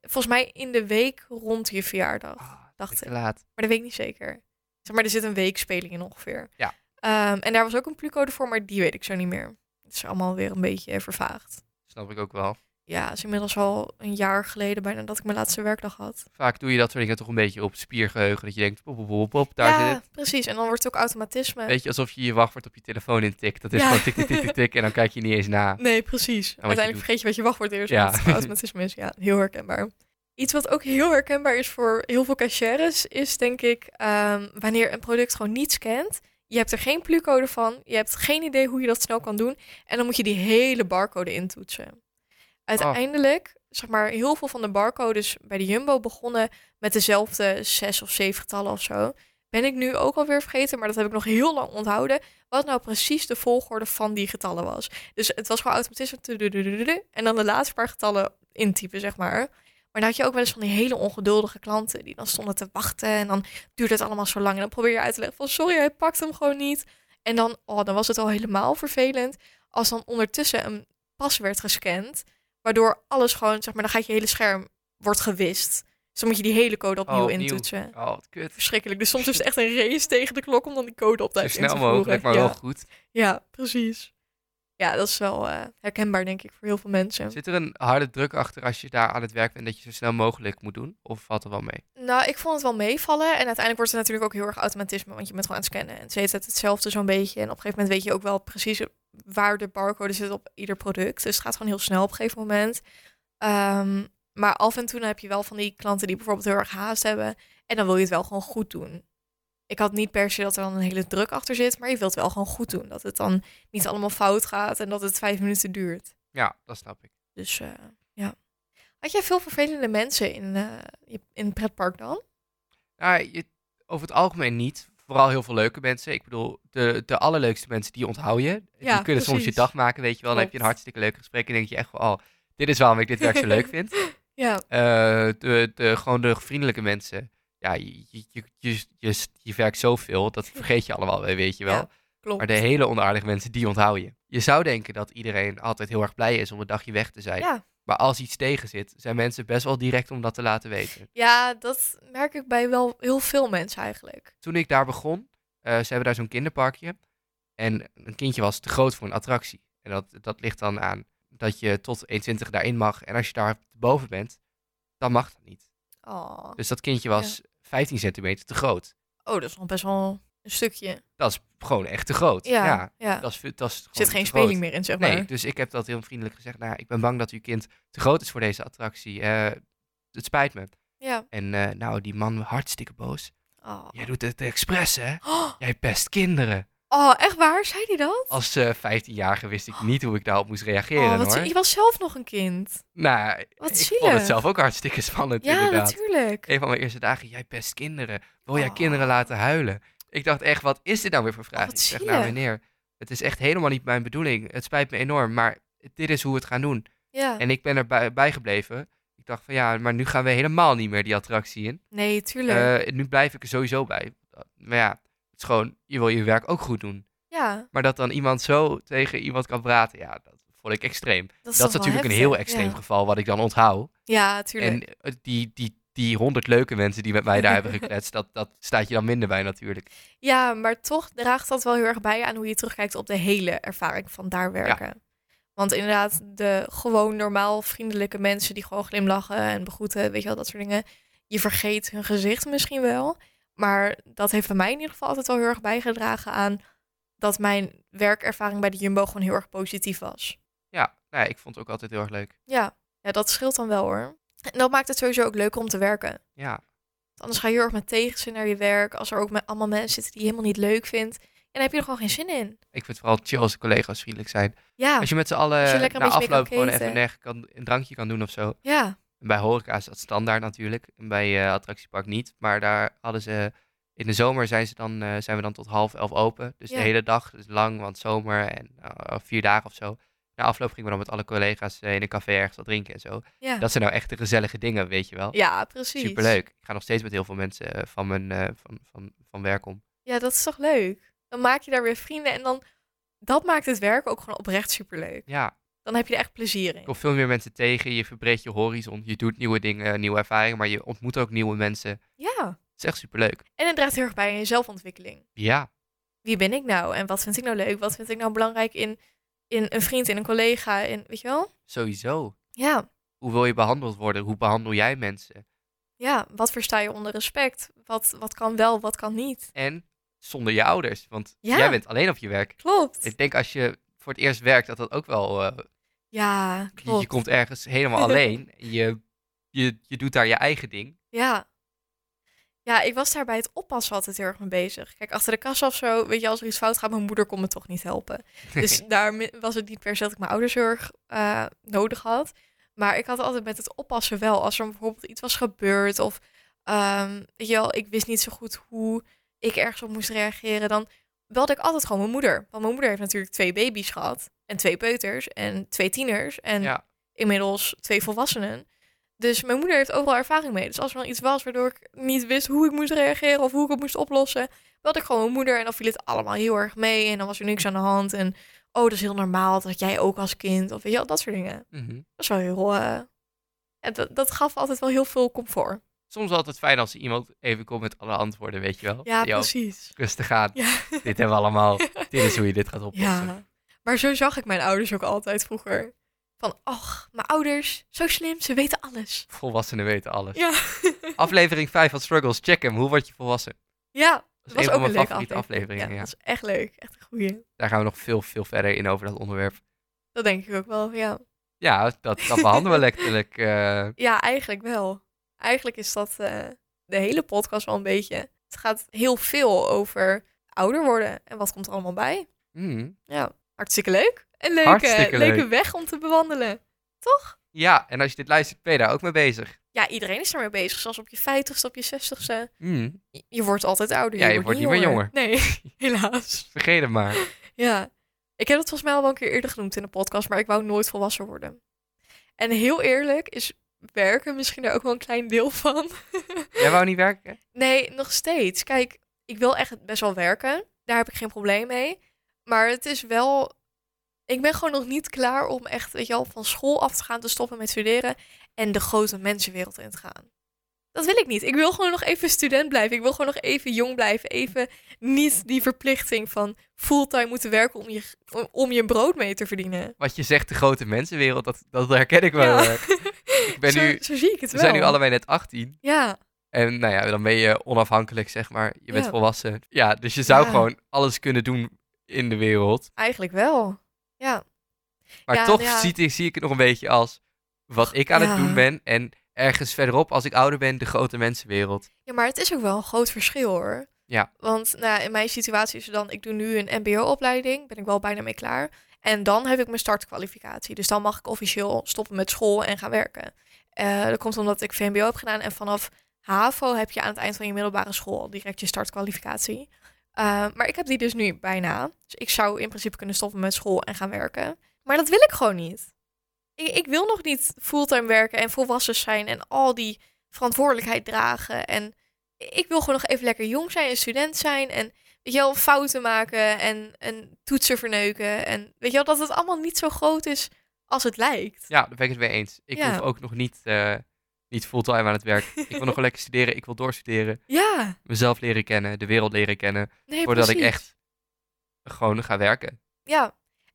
S2: volgens mij in de week rond je verjaardag.
S1: Ah,
S2: dacht
S1: te
S2: ik.
S1: laat.
S2: Maar dat weet ik niet zeker. Zeg maar, er zit een weekspeling in ongeveer.
S1: Ja.
S2: Ehm, en daar was ook een plucode voor, maar die weet ik zo niet meer. Het is allemaal weer een beetje eh, vervaagd.
S1: Snap ik ook wel.
S2: Ja, het is inmiddels al een jaar geleden bijna dat ik mijn laatste werkdag had.
S1: Vaak doe je dat soort dingen toch een beetje op spiergeheugen. Dat je denkt, pop, pop, pop, pop, daar
S2: ja,
S1: zit het.
S2: precies. En dan wordt het ook automatisme.
S1: Weet je, alsof je je wachtwoord op je telefoon intikt. Dat is
S2: Ja.
S1: gewoon tik, tik, tik, tik, tik. En dan kijk je niet eens na.
S2: Nee, precies.
S1: je
S2: Uiteindelijk
S1: doet.
S2: vergeet je wat je wachtwoord is.
S1: Ja.
S2: Ja. automatisme is ja, heel herkenbaar. Iets wat ook heel herkenbaar is voor heel veel cashiers, is denk ik ehm, wanneer een product gewoon niet scant. Je hebt er geen plucode van. Je hebt geen idee hoe je dat snel kan doen. En dan moet je die hele barcode intoetsen. Eh, Uiteindelijk, zeg maar, heel veel van de barcodes bij de Jumbo begonnen met dezelfde zes of zeven getallen of zo. Ben ik nu ook alweer vergeten, maar dat heb ik nog heel lang onthouden. Wat nou precies de volgorde van die getallen was. Dus het was gewoon automatisme. tudududududu, En dan de laatste paar getallen intypen, zeg maar. Maar dan had je ook wel eens van die hele ongeduldige klanten die dan stonden te wachten. En dan duurde het allemaal zo lang. En dan probeer je uit te leggen van sorry, hij pakt hem gewoon niet. En dan, oh, dan was het al helemaal vervelend. Als dan ondertussen een pas werd gescand. Waardoor alles gewoon, zeg maar, dan gaat je hele scherm wordt gewist. Dus dan moet je die hele code opnieuw,
S1: opnieuw.
S2: intoetsen.
S1: Oh, wat kut.
S2: Verschrikkelijk. Dus soms is het echt een race tegen de klok om dan die code op
S1: Zo
S2: tijd in te
S1: snel
S2: voeren.
S1: mogelijk, maar
S2: ja.
S1: wel goed.
S2: Ja, precies. Ja, dat is wel eh, herkenbaar, denk ik, voor heel veel mensen.
S1: Zit er een harde druk achter als je daar aan het werk bent dat je zo snel mogelijk moet doen? Of valt er wel mee?
S2: Nou, ik vond het wel meevallen. En uiteindelijk wordt het natuurlijk ook heel erg automatisme, want je bent gewoon aan het scannen. En het is de hele tijd hetzelfde zo'n beetje. En op een gegeven moment weet je ook wel precies waar de barcode zit op ieder product. Dus het gaat gewoon heel snel op een gegeven moment. Ehm, maar af en toe dan heb je wel van die klanten die bijvoorbeeld heel erg haast hebben. En dan wil je het wel gewoon goed doen. Ik had niet per se dat er dan een hele druk achter zit, maar je wilt wel gewoon goed doen. Dat het dan niet allemaal fout gaat en dat het vijf minuten duurt.
S1: Ja, dat snap ik.
S2: Dus eh, ja. Had jij veel vervelende mensen in, eh, je- in het pretpark dan?
S1: Nou, je, over het algemeen niet. Vooral heel veel leuke mensen. Ik bedoel, de, de allerleukste mensen, die onthoud je. die
S2: Ja,
S1: kunnen soms je
S2: precies.
S1: dag maken, weet je wel. Dan heb je een
S2: Klopt.
S1: hartstikke leuk gesprek en denk je echt van, oh, dit is waarom ik dit werk zo leuk vind.
S2: Ja,
S1: Eh, de, de, gewoon de vriendelijke mensen. Ja, je, je, je, je, je, je werkt zoveel, dat vergeet je allemaal, weer, weet je wel.
S2: Ja, klopt.
S1: Maar de hele onaardige mensen, die onthoud je. Je zou denken dat iedereen altijd heel erg blij is om een dagje weg te zijn.
S2: Ja.
S1: Maar als iets tegen zit, zijn mensen best wel direct om dat te laten weten.
S2: ja, dat merk ik bij wel heel veel mensen eigenlijk.
S1: Toen ik daar begon, eh, ze hebben daar zo'n kinderparkje. En een kindje was te groot voor een attractie. En dat, dat ligt dan aan dat je tot 1,20 daarin mag. En als je daar boven bent, dan mag dat niet.
S2: Oh,
S1: Dus dat kindje was 15 centimeter te groot.
S2: oh dat is nog best wel een stukje.
S1: Dat is gewoon echt te groot.
S2: Ja, ja.
S1: Dat is, dat is
S2: er
S1: gewoon
S2: zit geen
S1: te groot.
S2: speling meer in, zeg maar.
S1: Nee, dus ik heb dat heel vriendelijk gezegd. Nou, ik ben bang dat uw kind te groot is voor deze attractie. Eh, het spijt me.
S2: Ja.
S1: En eh, nou, die man hartstikke boos.
S2: Oh.
S1: Jij doet het expres, hè?
S2: Oh,
S1: Jij pest kinderen.
S2: Oh, echt waar? Zei hij dat?
S1: Als eh 15-jarige wist ik niet hoe ik daarop moest reageren,
S2: Oh, wat,
S1: hoor.
S2: zie- je was zelf nog een kind.
S1: Nou,
S2: Wat
S1: ik vond het
S2: zielig.
S1: zelf ook hartstikke spannend,
S2: Ja,
S1: inderdaad.
S2: natuurlijk.
S1: Een van mijn eerste dagen, jij pest kinderen. Wil jij
S2: Oh.
S1: kinderen laten huilen? Ik dacht echt, wat is dit nou weer voor vraag?
S2: wat
S1: ik zeg, nou
S2: zielig.
S1: meneer, het is echt helemaal niet mijn bedoeling. Het spijt me enorm, maar dit is hoe we het gaan doen.
S2: Ja.
S1: En ik ben erbij bij gebleven. Ik dacht van ja, maar nu gaan we helemaal niet meer die attractie in.
S2: Nee, tuurlijk.
S1: Eh, nu blijf ik er sowieso bij. Maar ja, het is gewoon, je wil je werk ook goed doen.
S2: ja,
S1: Maar dat dan iemand zo tegen iemand kan praten, ja, dat vond ik extreem.
S2: dat
S1: Dat
S2: is,
S1: is,
S2: toch wel
S1: natuurlijk een
S2: heftig,
S1: heel extreem
S2: ja.
S1: geval wat ik dan onthoud.
S2: Ja, tuurlijk.
S1: En eh, die, die, die honderd leuke mensen die met mij daar hebben gekletst, dat, dat staat je dan minder bij natuurlijk.
S2: Ja, maar toch draagt dat wel heel erg bij aan hoe je terugkijkt op de hele ervaring van daar werken. Want inderdaad, de gewoon normaal vriendelijke mensen die gewoon glimlachen en begroeten, weet je wel, dat soort dingen. Je vergeet hun gezicht misschien wel. Maar dat heeft bij mij in ieder geval altijd wel heel erg bijgedragen aan dat mijn werkervaring bij de Jumbo gewoon heel erg positief was.
S1: Ja, nou, ja, ik vond het ook altijd heel erg leuk.
S2: Ja, ja dat scheelt dan wel hoor. En dat maakt het sowieso ook leuker om te werken.
S1: Ja,
S2: Want Anders ga je heel erg met tegenzin naar je werk. Als er ook met allemaal mensen zitten die je helemaal niet leuk vindt. En dan heb je er gewoon geen zin in.
S1: ik vind het vooral chill als de collega's vriendelijk zijn.
S2: Ja,
S1: Als je met z'n allen
S2: Ah, Als je
S1: na
S2: lekker een beetje mee kan
S1: afloop gewoon
S2: keten.
S1: even nerg- kan, een drankje kan doen of zo.
S2: ja.
S1: En Bij horeca is dat standaard natuurlijk. En bij eh, attractiepark niet. Maar daar hadden ze... In de zomer zijn, ze dan, eh, zijn we dan tot half elf open. Dus de
S2: Ja.
S1: hele dag. Dus lang, want zomer en eh, vier dagen of zo. Na afloop gingen we dan met alle collega's eh, in een café ergens wat drinken en zo.
S2: Ja,
S1: Dat zijn nou echt de gezellige dingen, weet je wel.
S2: ja precies.
S1: Superleuk. Ik ga nog steeds met heel veel mensen eh, van, mijn, eh, van, van, van werk om.
S2: Ja, dat is toch leuk? Dan maak je daar weer vrienden en dan... Dat maakt het werk ook gewoon oprecht superleuk.
S1: Ja,
S2: Dan heb je er echt plezier in.
S1: ik kom veel meer mensen tegen. Je verbreedt je horizon. Je doet nieuwe dingen, nieuwe ervaringen. Maar je ontmoet ook nieuwe mensen. Het
S2: Ja.
S1: is echt superleuk.
S2: En het draagt heel erg bij aan je zelfontwikkeling.
S1: Ja.
S2: Wie ben ik nou? En wat vind ik nou leuk? Wat vind ik nou belangrijk in, in een vriend, in een collega? In, weet je wel?
S1: Sowieso.
S2: Ja.
S1: Hoe wil je behandeld worden? Hoe behandel jij mensen?
S2: Ja, wat versta je onder respect? Wat, wat kan wel, wat kan niet?
S1: En zonder je ouders, want
S2: Ja.
S1: jij bent alleen op je werk.
S2: Klopt.
S1: Ik denk als je voor het eerst werkt, dat dat ook wel... eh,
S2: Ja,
S1: je,
S2: klopt.
S1: je komt ergens helemaal alleen. Je, je, je doet daar je eigen ding.
S2: Ja. Ja, ik was daar bij het oppassen altijd heel erg mee bezig. Kijk, achter de kassa of zo, weet je, als er iets fout gaat, mijn moeder kon me Dus toch niet helpen. Dus daar mi- was het niet per se dat ik mijn ouders heel erg eh, nodig had. Maar ik had altijd met het oppassen wel. Als er bijvoorbeeld iets was gebeurd of ehm, weet je wel, ik wist niet zo goed hoe ik ergens op moest reageren, dan belde ik altijd gewoon mijn moeder. Want mijn moeder heeft natuurlijk twee baby's gehad en twee peuters en twee tieners en
S1: Ja.
S2: inmiddels twee volwassenen. Dus mijn moeder heeft overal ervaring mee. Dus als er dan iets was waardoor ik niet wist hoe ik moest reageren of hoe ik het moest oplossen, belde ik gewoon mijn moeder en dan viel het allemaal heel erg mee en dan was er niks aan de hand en oh, dat is heel normaal, dat had jij ook als kind of weet je wel, dat soort dingen.
S1: Mhm.
S2: Dat is wel heel. eh, ja, dat, dat gaf altijd wel heel veel comfort.
S1: Soms altijd fijn als iemand even komt met alle antwoorden, weet je wel.
S2: Ja,
S1: Die ook
S2: precies.
S1: Rustig aan.
S2: Ja.
S1: Dit hebben we allemaal. Dit is hoe je dit gaat oplossen.
S2: ja. Maar zo zag ik mijn ouders ook altijd vroeger. Van, ach, mijn ouders, zo slim, ze weten alles.
S1: Volwassenen weten alles.
S2: Ja,
S1: Aflevering 5 van Struggles. Check hem. Hoe word je volwassen?
S2: ja
S1: Dat
S2: dat
S1: is
S2: was
S1: een van
S2: ook
S1: mijn
S2: een leuke
S1: favoriete
S2: aflevering.
S1: afleveringen.
S2: Ja,
S1: ja.
S2: dat is echt leuk. Echt een goeie.
S1: Daar gaan we nog veel, veel verder in over dat onderwerp.
S2: Dat denk ik ook wel, ja.
S1: Ja, dat, dat behandelen we letterlijk. eh,
S2: Ja, eigenlijk wel. Eigenlijk is dat eh, de hele podcast wel een beetje. Het gaat heel veel over ouder worden en wat komt er allemaal bij.
S1: hmm.
S2: Ja, hartstikke leuk. Een leuke,
S1: Hartstikke leuk.
S2: leuke weg om te bewandelen. Toch?
S1: Ja, en als je dit luistert, ben je daar ook mee bezig.
S2: ja, iedereen is ermee bezig. Zoals op je 50ste, op je 60ste.
S1: Hmm.
S2: Je- Je wordt altijd ouder.
S1: Ja, je wordt niet meer
S2: Nee, helaas.
S1: Vergeet het maar.
S2: Ja. Ik heb dat volgens mij al wel een keer eerder genoemd in de podcast, maar ik wou nooit volwassen worden. En heel eerlijk is werken misschien daar ook wel een klein deel van.
S1: Jij wou niet werken?
S2: Nee, nog steeds. Kijk, ik wil echt best wel werken. Daar heb ik geen probleem mee. Maar het is wel. Ik ben gewoon nog niet klaar om echt, weet je wel, van school af te gaan, te stoppen met studeren en de grote mensenwereld in te gaan. Dat wil ik niet. Ik wil gewoon nog even student blijven. Ik wil gewoon nog even jong blijven. Even niet die verplichting van fulltime moeten werken om je, om je brood mee te verdienen.
S1: Wat je zegt, de grote mensenwereld, dat, dat herken ik wel.
S2: Ja.
S1: eh. Ik ben
S2: zo,
S1: nu,
S2: zo zie ik het
S1: we
S2: wel.
S1: zijn nu allebei net 18.
S2: Ja,
S1: En nou ja, dan ben je onafhankelijk, zeg maar. Je bent
S2: Ja.
S1: volwassen. Ja, dus je zou
S2: Ja.
S1: gewoon alles kunnen doen in de wereld.
S2: eigenlijk wel. Ja,
S1: Maar
S2: Ja,
S1: toch
S2: ja.
S1: Zie, zie ik het nog een beetje als wat ik aan het
S2: Ja.
S1: doen ben. En ergens verderop, als ik ouder ben, de grote mensenwereld.
S2: Ja, maar het is ook wel een groot verschil hoor.
S1: Ja.
S2: Want nou, ja, in mijn situatie is het dan, ik doe nu een MBO-opleiding, ben ik wel bijna mee klaar. En dan heb ik mijn startkwalificatie. Dus dan mag ik officieel stoppen met school en gaan werken. Eh, dat komt omdat ik VMBO heb gedaan. En vanaf HAVO heb je aan het eind van je middelbare school direct je startkwalificatie. Eh, maar ik heb die dus nu bijna. Dus ik zou in principe kunnen stoppen met school en gaan werken. Maar dat wil ik gewoon niet. Ik, ik wil nog niet fulltime werken en volwassen zijn en al die verantwoordelijkheid dragen. En ik wil gewoon nog even lekker jong zijn en student zijn. En weet je wel, fouten maken en, en toetsen verneuken. En weet je wel, dat het allemaal niet zo groot is als het lijkt.
S1: Ja, daar ben ik het mee eens. Ik
S2: Ja.
S1: hoef ook nog niet, eh, niet fulltime aan het werk. ik wil nog wel lekker studeren. Ik wil doorstuderen.
S2: Ja,
S1: Mezelf leren kennen. De wereld leren kennen.
S2: nee,
S1: voordat ik
S2: precies.
S1: echt gewoon ga werken.
S2: Ja.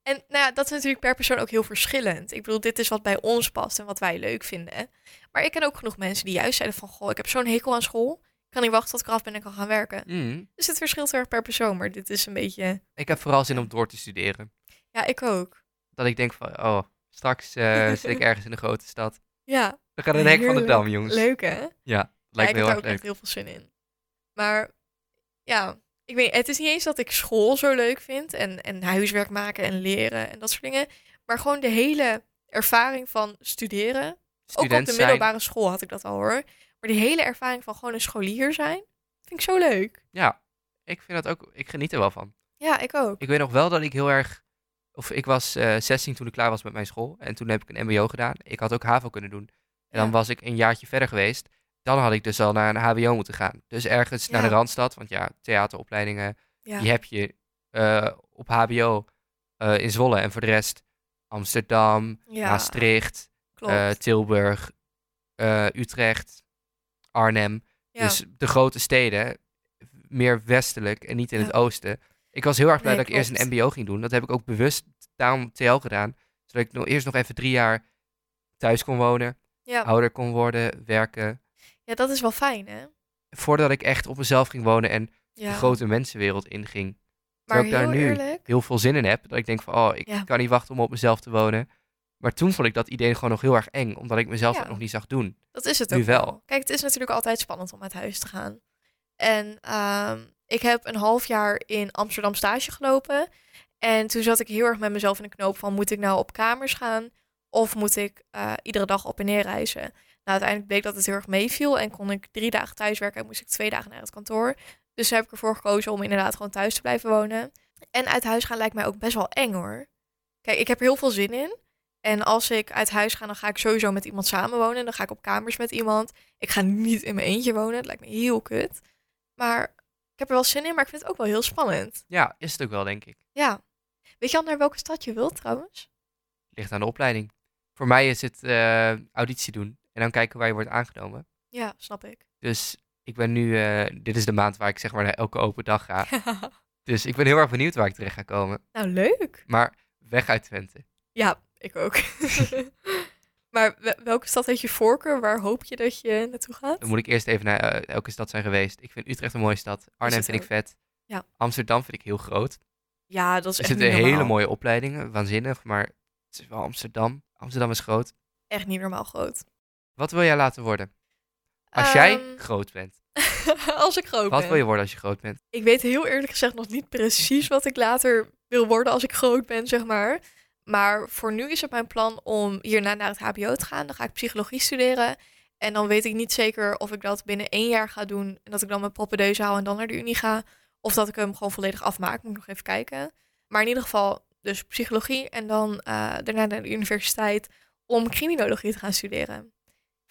S2: En nou ja, dat is natuurlijk per persoon ook heel verschillend. Ik bedoel, dit is wat bij ons past en wat wij leuk vinden. Maar ik ken ook genoeg mensen die juist zeiden van... Goh, ik heb zo'n hekel aan school. Ik kan niet wachten tot ik eraf ben en kan gaan werken.
S1: Mm.
S2: Dus het verschilt heel erg per persoon. Maar dit is een beetje...
S1: Ik heb vooral zin om door te studeren.
S2: Ja, ik ook.
S1: Dat ik denk van, oh, straks eh, zit ik ergens in een grote stad.
S2: Ja,
S1: We gaan naar de hek van de
S2: Heerlijk.
S1: Dam, jongens.
S2: leuk hè?
S1: Dus Lijkt
S2: ja,
S1: me heel
S2: ik heb
S1: erg
S2: daar ook
S1: leuk.
S2: echt heel veel zin in. Maar ja, ik weet, het is niet eens dat ik school zo leuk vind en, en huiswerk maken en leren en dat soort dingen. Maar gewoon de hele ervaring van studeren. ook op
S1: Student
S2: de
S1: zijn.
S2: middelbare school had ik dat al hoor. Maar die hele ervaring van gewoon een scholier zijn, vind ik zo leuk.
S1: Ja, ik vind dat ook. Ik geniet er wel van.
S2: Ja, ik ook.
S1: Ik weet nog wel dat ik heel erg. Of ik was eh 16 toen ik klaar was met mijn school. En toen heb ik een MBO gedaan. Ik had ook HAVO kunnen doen. En dan
S2: Ja.
S1: was ik een jaartje verder geweest. Dan had ik dus al naar een HBO moeten gaan. Dus ergens naar de
S2: Ja.
S1: randstad. Want ja, theateropleidingen.
S2: Ja,
S1: Die heb je eh, op HBO eh, in Zwolle. En voor de rest Amsterdam,
S2: ja
S1: Maastricht,
S2: klopt.
S1: eh, Tilburg, eh, Utrecht, Arnhem.
S2: ja.
S1: Dus de grote steden, meer westelijk en niet in
S2: Ja.
S1: het oosten. Ik was heel erg blij
S2: Nee,
S1: dat ik eerst een
S2: klopt.
S1: MBO ging doen. Dat heb ik ook bewust daarom TL gedaan. Zodat ik nog eerst nog even drie jaar thuis kon wonen,
S2: ja.
S1: ouder kon worden, werken.
S2: ja, dat is wel fijn hè.
S1: Voordat ik echt op mezelf ging wonen en
S2: Ja.
S1: de grote mensenwereld inging.
S2: maar
S1: terwijl ik daar
S2: heel
S1: nu-
S2: eerlijk,
S1: Heel veel zin in heb. Dat ik denk van, oh, ik
S2: Ja.
S1: kan niet wachten om op mezelf te wonen. Maar toen vond ik dat idee gewoon nog heel erg eng. Omdat ik mezelf
S2: Ja.
S1: dat nog niet zag doen.
S2: Dat is het
S1: Nu
S2: ook wel.
S1: wel.
S2: Kijk, het is natuurlijk altijd spannend om uit huis te gaan. En ehm, ik heb een half jaar in Amsterdam stage gelopen. En toen zat ik heel erg met mezelf in de knoop van... moet ik nou op kamers gaan Of moet ik eh, iedere dag op en neer reizen? Nou, uiteindelijk bleek dat het heel erg meeviel en kon ik drie dagen thuiswerken en moest ik twee dagen naar het kantoor. Dus heb ik ervoor gekozen om inderdaad gewoon thuis te blijven wonen. En uit huis gaan lijkt mij ook best wel eng hoor. Kijk, ik heb er heel veel zin in. En als ik uit huis ga, dan ga ik sowieso met iemand samenwonen. Dan ga ik op kamers met iemand. Ik ga niet in mijn eentje wonen. Dat lijkt me heel kut. Maar ik heb er wel zin in, maar ik vind het ook wel heel spannend.
S1: Ja, is het ook wel, denk ik.
S2: Ja. Weet je al naar welke stad je wilt trouwens?
S1: Ligt aan de opleiding. Voor mij is het eh, auditie doen en dan kijken waar je wordt aangenomen.
S2: Ja, snap ik.
S1: Dus ik ben nu, eh, dit is de maand waar ik zeg maar naar elke open dag ga. Dus ik ben heel erg benieuwd waar ik terecht ga komen.
S2: nou, leuk.
S1: Maar weg uit Twente.
S2: Ja, ik ook. maar we- welke stad heeft je voorkeur? Waar hoop je dat je naartoe gaat?
S1: Dan moet ik eerst even naar eh, elke stad zijn geweest. Ik vind Utrecht een mooie stad. Arnhem
S2: het
S1: vind ik
S2: ook.
S1: vet.
S2: Ja.
S1: Amsterdam vind ik heel groot.
S2: Ja, dat is
S1: Er
S2: echt
S1: zitten
S2: niet normaal.
S1: hele mooie opleidingen, waanzinnig. Maar het is wel Amsterdam. Amsterdam is groot.
S2: Echt niet normaal groot.
S1: Wat wil jij laten worden? Als jij
S2: Ehm,
S1: groot bent.
S2: als ik groot
S1: Wat
S2: ben.
S1: wil je worden als je groot bent?
S2: Ik weet heel eerlijk gezegd nog niet precies wat ik later wil worden als ik groot ben, zeg maar. Maar voor nu is het mijn plan om hierna naar het HBO te gaan. Dan ga ik psychologie studeren. En dan weet ik niet zeker of ik dat binnen één jaar ga doen. En dat ik dan mijn propedeuse hou en dan naar de unie ga. Of dat ik hem gewoon volledig afmaak. Moet ik nog even kijken. Maar in ieder geval, dus psychologie. En dan eh, daarna naar de universiteit om criminologie te gaan studeren.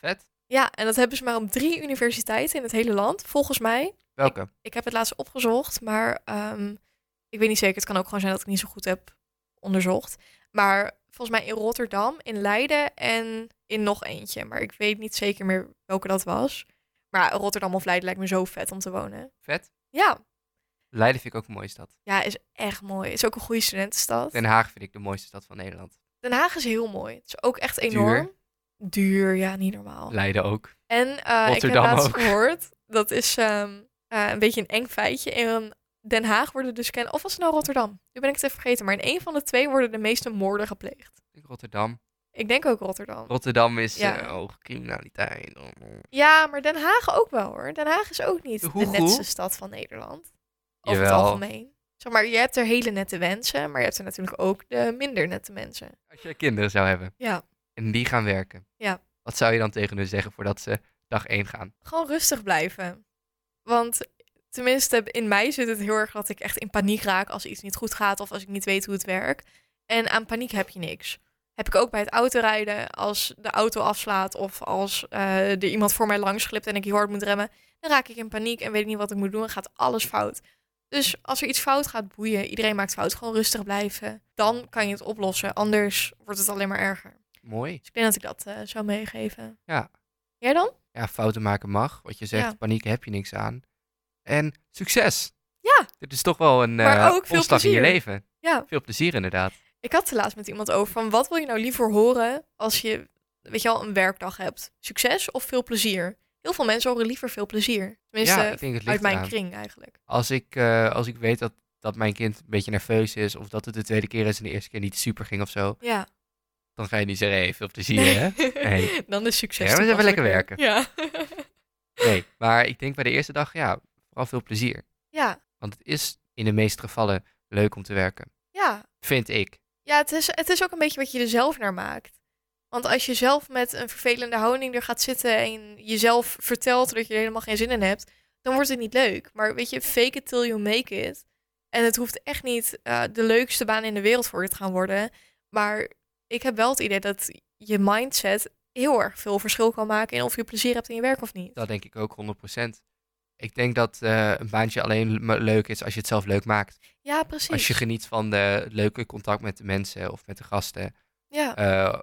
S1: Vet?
S2: Ja, en dat hebben ze maar op drie universiteiten in het hele land, volgens mij.
S1: Welke?
S2: Ik heb het laatst opgezocht, maar ehm, ik weet niet zeker. Het kan ook gewoon zijn dat ik niet zo goed heb onderzocht. Maar volgens mij in Rotterdam, in Leiden en in nog eentje. Maar ik weet niet zeker meer welke dat was. Maar Rotterdam of Leiden lijkt me zo vet om te wonen.
S1: Vet?
S2: Ja,
S1: Leiden vind ik ook een mooie stad.
S2: ja is echt mooi. Is ook een goede studentenstad.
S1: Den Haag vind ik de mooiste stad van Nederland.
S2: Den Haag is heel mooi. Het is ook echt enorm. Duur, ja, niet normaal.
S1: Leiden ook.
S2: En eh, ik heb
S1: Rotterdam
S2: laatst
S1: ook.
S2: gehoord, dat is ehm, eh, een beetje een eng feitje. In Den Haag worden dus kennen, of was het nou Rotterdam? Nu ben ik het even vergeten, maar in één van de twee worden de meeste moorden gepleegd.
S1: Ik denk Rotterdam.
S2: Ik denk ook Rotterdam.
S1: Rotterdam is
S2: Ja.
S1: eh, hoge criminaliteit. Oh,
S2: Ja, maar Den Haag ook wel hoor. Den Haag is ook niet
S1: Hoe
S2: de netste
S1: goed?
S2: stad van Nederland. Over
S1: Jawel.
S2: het algemeen. Zeg maar, je hebt er hele nette mensen, maar je hebt er natuurlijk ook de minder nette mensen.
S1: Als jij kinderen zou hebben
S2: Ja,
S1: en die gaan werken.
S2: Ja.
S1: Wat zou je dan tegen hun zeggen voordat ze dag één gaan?
S2: gewoon rustig blijven. Want tenminste, in mij zit het heel erg dat ik echt in paniek raak als iets niet goed gaat of als ik niet weet hoe het werkt. En aan paniek heb je niks. Heb ik ook bij het autorijden, als de auto afslaat of als eh, er iemand voor mij langs glipt en ik heel hard moet remmen, dan raak ik in paniek en weet ik niet wat ik moet doen en gaat alles fout. Dus als er iets fout gaat, boeien. Iedereen maakt fout. Gewoon rustig blijven. Dan kan je het oplossen. Anders wordt het alleen maar erger.
S1: Mooi.
S2: Dus ik denk dat ik dat eh, zou meegeven.
S1: Ja.
S2: Jij dan?
S1: Ja, fouten maken mag. Wat je zegt,
S2: Ja.
S1: paniek heb je niks aan. En succes.
S2: Ja.
S1: Dit is toch wel een
S2: Maar
S1: eh,
S2: ook veel
S1: omslag in je
S2: plezier.
S1: leven.
S2: Ja.
S1: Veel plezier inderdaad.
S2: Ik had het laatst met iemand over van wat wil je nou liever horen als je, weet je wel, een werkdag hebt? Succes of veel plezier? Heel veel mensen horen liever veel plezier. Tenminste,
S1: ja, ik denk het ligt
S2: eh, uit mijn
S1: eraan.
S2: kring eigenlijk.
S1: Als ik, eh, als ik weet dat, dat mijn kind een beetje nerveus is... of dat het de tweede keer is en de eerste keer niet super ging of zo...
S2: Ja.
S1: dan ga je niet zeggen, hey, veel plezier, hè? Nee.
S2: Dan is succes.
S1: Ja, maar eens even lekker
S2: toepasselijker. Ja.
S1: Nee, maar ik denk bij de eerste dag, ja, vooral veel plezier.
S2: ja,
S1: Want het is in de meeste gevallen leuk om te werken.
S2: ja.
S1: Vind ik.
S2: Ja, het is, het is ook een beetje wat je er zelf naar maakt. Want als je zelf met een vervelende houding er gaat zitten en jezelf vertelt dat je er helemaal geen zin in hebt, dan wordt het niet leuk. Maar weet je, fake it till you make it. En het hoeft echt niet eh, de leukste baan in de wereld voor je te gaan worden. Maar ik heb wel het idee dat je mindset heel erg veel verschil kan maken in of je plezier hebt in je werk of niet.
S1: Dat denk ik ook 100%. Ik denk dat eh, een baantje alleen me- leuk is als je het zelf leuk maakt.
S2: Ja, precies.
S1: Als je geniet van de leuke contact met de mensen of met de gasten.
S2: ja,
S1: eh,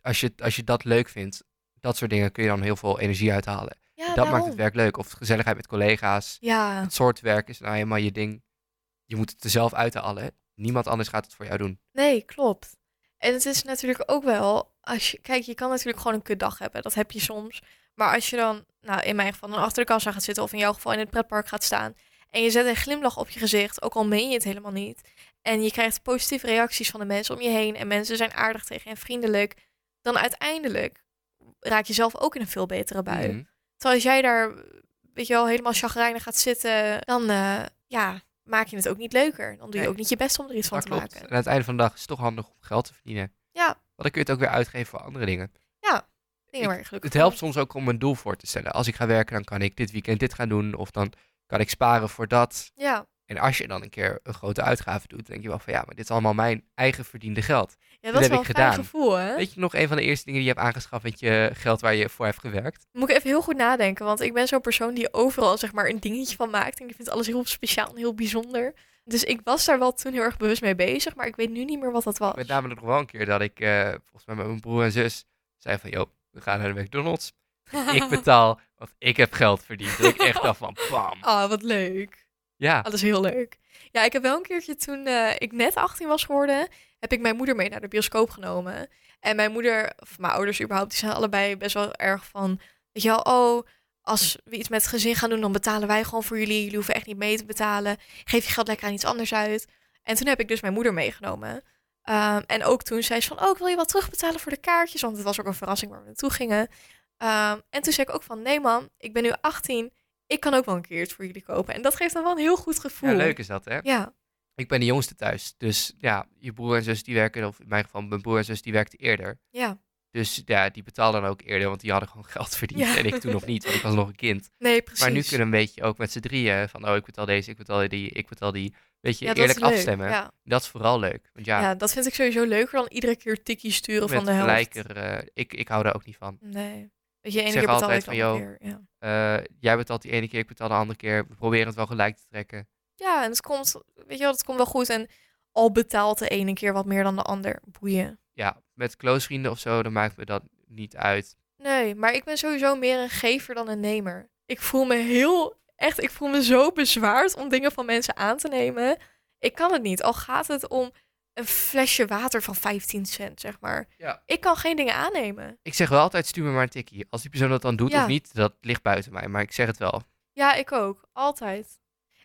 S1: als, je, als je dat leuk vindt, dat soort dingen kun je dan heel veel energie uithalen.
S2: ja
S1: dat maakt
S2: daarom.
S1: het werk leuk. Of gezelligheid met collega's.
S2: Ja,
S1: Het soort werk is nou helemaal je ding. Je moet het er zelf uithalen. Niemand anders gaat het voor jou doen.
S2: Nee, klopt. En het is natuurlijk ook wel, als je, kijk, je kan natuurlijk gewoon een kutdag hebben, dat heb je soms. Maar als je dan, nou in mijn geval, dan achter de kassa gaat zitten of in jouw geval in het pretpark gaat staan en je zet een glimlach op je gezicht, ook al meen je het helemaal niet, en je krijgt positieve reacties van de mensen om je heen en mensen zijn aardig tegen je en vriendelijk, dan uiteindelijk raak je zelf ook in een veel betere bui.
S1: Mhm.
S2: Terwijl als jij daar, weet je wel, helemaal chagrijnig gaat zitten, dan eh, ja, maak je het ook niet leuker. Dan doe je
S1: Nee.
S2: ook niet je best om er iets van
S1: Dat
S2: te
S1: klopt.
S2: maken.
S1: En aan het einde van de dag is het toch handig om geld te verdienen.
S2: Ja.
S1: dan kun je het ook weer uitgeven voor andere dingen.
S2: Dingen waar je gelukkig
S1: Het helpt
S2: van
S1: soms ook om een doel voor te stellen. Als ik ga werken, dan kan ik dit weekend dit gaan doen. Of dan kan ik sparen voor dat.
S2: wordt. Ja.
S1: En als je dan een keer een grote uitgave doet, dan denk je wel van ja, maar dit is allemaal mijn eigen verdiende geld.
S2: ja,
S1: heb
S2: dat is wel
S1: ik
S2: een fijn
S1: gedaan.
S2: gevoel, hè?
S1: Weet je nog een van de eerste dingen die je hebt aangeschaft met je geld waar je voor hebt gewerkt?
S2: Moet ik even heel goed nadenken, want ik ben zo'n persoon die overal zeg maar een dingetje van maakt. En ik vind alles heel speciaal en heel bijzonder. Dus ik was daar wel toen heel erg bewust mee bezig, maar ik weet nu niet meer wat dat was.
S1: Met name nog wel een keer dat ik eh, volgens mij met mijn broer en zus zei van joh, we gaan naar de McDonald's. Ik betaal, want ik heb geld verdiend. Dat ik echt dacht van bam.
S2: Ah, wat leuk.
S1: Ja,
S2: Ah, dat is heel leuk. Ja, ik heb wel een keertje toen eh, ik net 18 was geworden, heb ik mijn moeder mee naar de bioscoop genomen. En mijn moeder, of mijn ouders überhaupt, die zijn allebei best wel erg van, weet je wel, oh, als we iets met het gezin gaan doen, dan betalen wij gewoon voor jullie. Jullie hoeven echt niet mee te betalen. Geef je geld lekker aan iets anders uit. En toen heb ik dus mijn moeder meegenomen. Ehm, en ook toen zei ze van, oh, ik wil je wel terugbetalen voor de kaartjes, want het was ook een verrassing waar we naartoe gingen. Ehm, en toen zei ik ook van, nee man, ik ben nu 18, ik kan ook wel een keer iets voor jullie kopen. En dat geeft dan wel een heel goed gevoel.
S1: ja, leuk is dat hè.
S2: Ja,
S1: Ik ben de jongste thuis. Dus ja, je broer en zus die werken, of in mijn geval mijn broer en zus die werkten eerder.
S2: ja.
S1: Dus ja, die betaalden dan ook eerder, want die hadden gewoon geld verdiend.
S2: Ja.
S1: En ik toen nog niet, want ik was nog een kind.
S2: Nee, precies.
S1: Maar nu kunnen we een beetje ook met z'n drieën van, oh, ik betaal deze, ik betaal die, ik betaal die. Weet je,
S2: ja, dat
S1: eerlijk
S2: is leuk.
S1: afstemmen.
S2: Ja.
S1: Dat is vooral leuk. Want ja,
S2: Ja. dat vind ik sowieso leuker dan iedere keer tikkie sturen
S1: met
S2: van de helft.
S1: gelijker, eh, ik, ik hou daar ook niet van.
S2: Nee. Weet je, de ene
S1: zeg
S2: keer betaal
S1: altijd
S2: ik
S1: van,
S2: dan een
S1: joh,
S2: keer. Ja.
S1: Eh, jij betaalt die ene keer, ik betaal de andere keer. We proberen het wel gelijk te trekken.
S2: ja, en het komt, weet je wel, het komt wel goed. En al betaalt de ene keer wat meer dan de ander. Boeien.
S1: Ja, met close vrienden of zo, dan maakt me dat niet uit.
S2: Nee, maar ik ben sowieso meer een gever dan een nemer. Ik voel me heel, echt, ik voel me zo bezwaard om dingen van mensen aan te nemen. Ik kan het niet, al gaat het om een flesje water van 15 cent, zeg maar.
S1: Ja.
S2: Ik kan geen dingen aannemen.
S1: Ik zeg wel altijd, stuur me maar een tikkie. Als die persoon dat dan doet
S2: Ja.
S1: of niet, dat ligt buiten mij. Maar ik zeg het wel.
S2: Ja, ik ook. Altijd.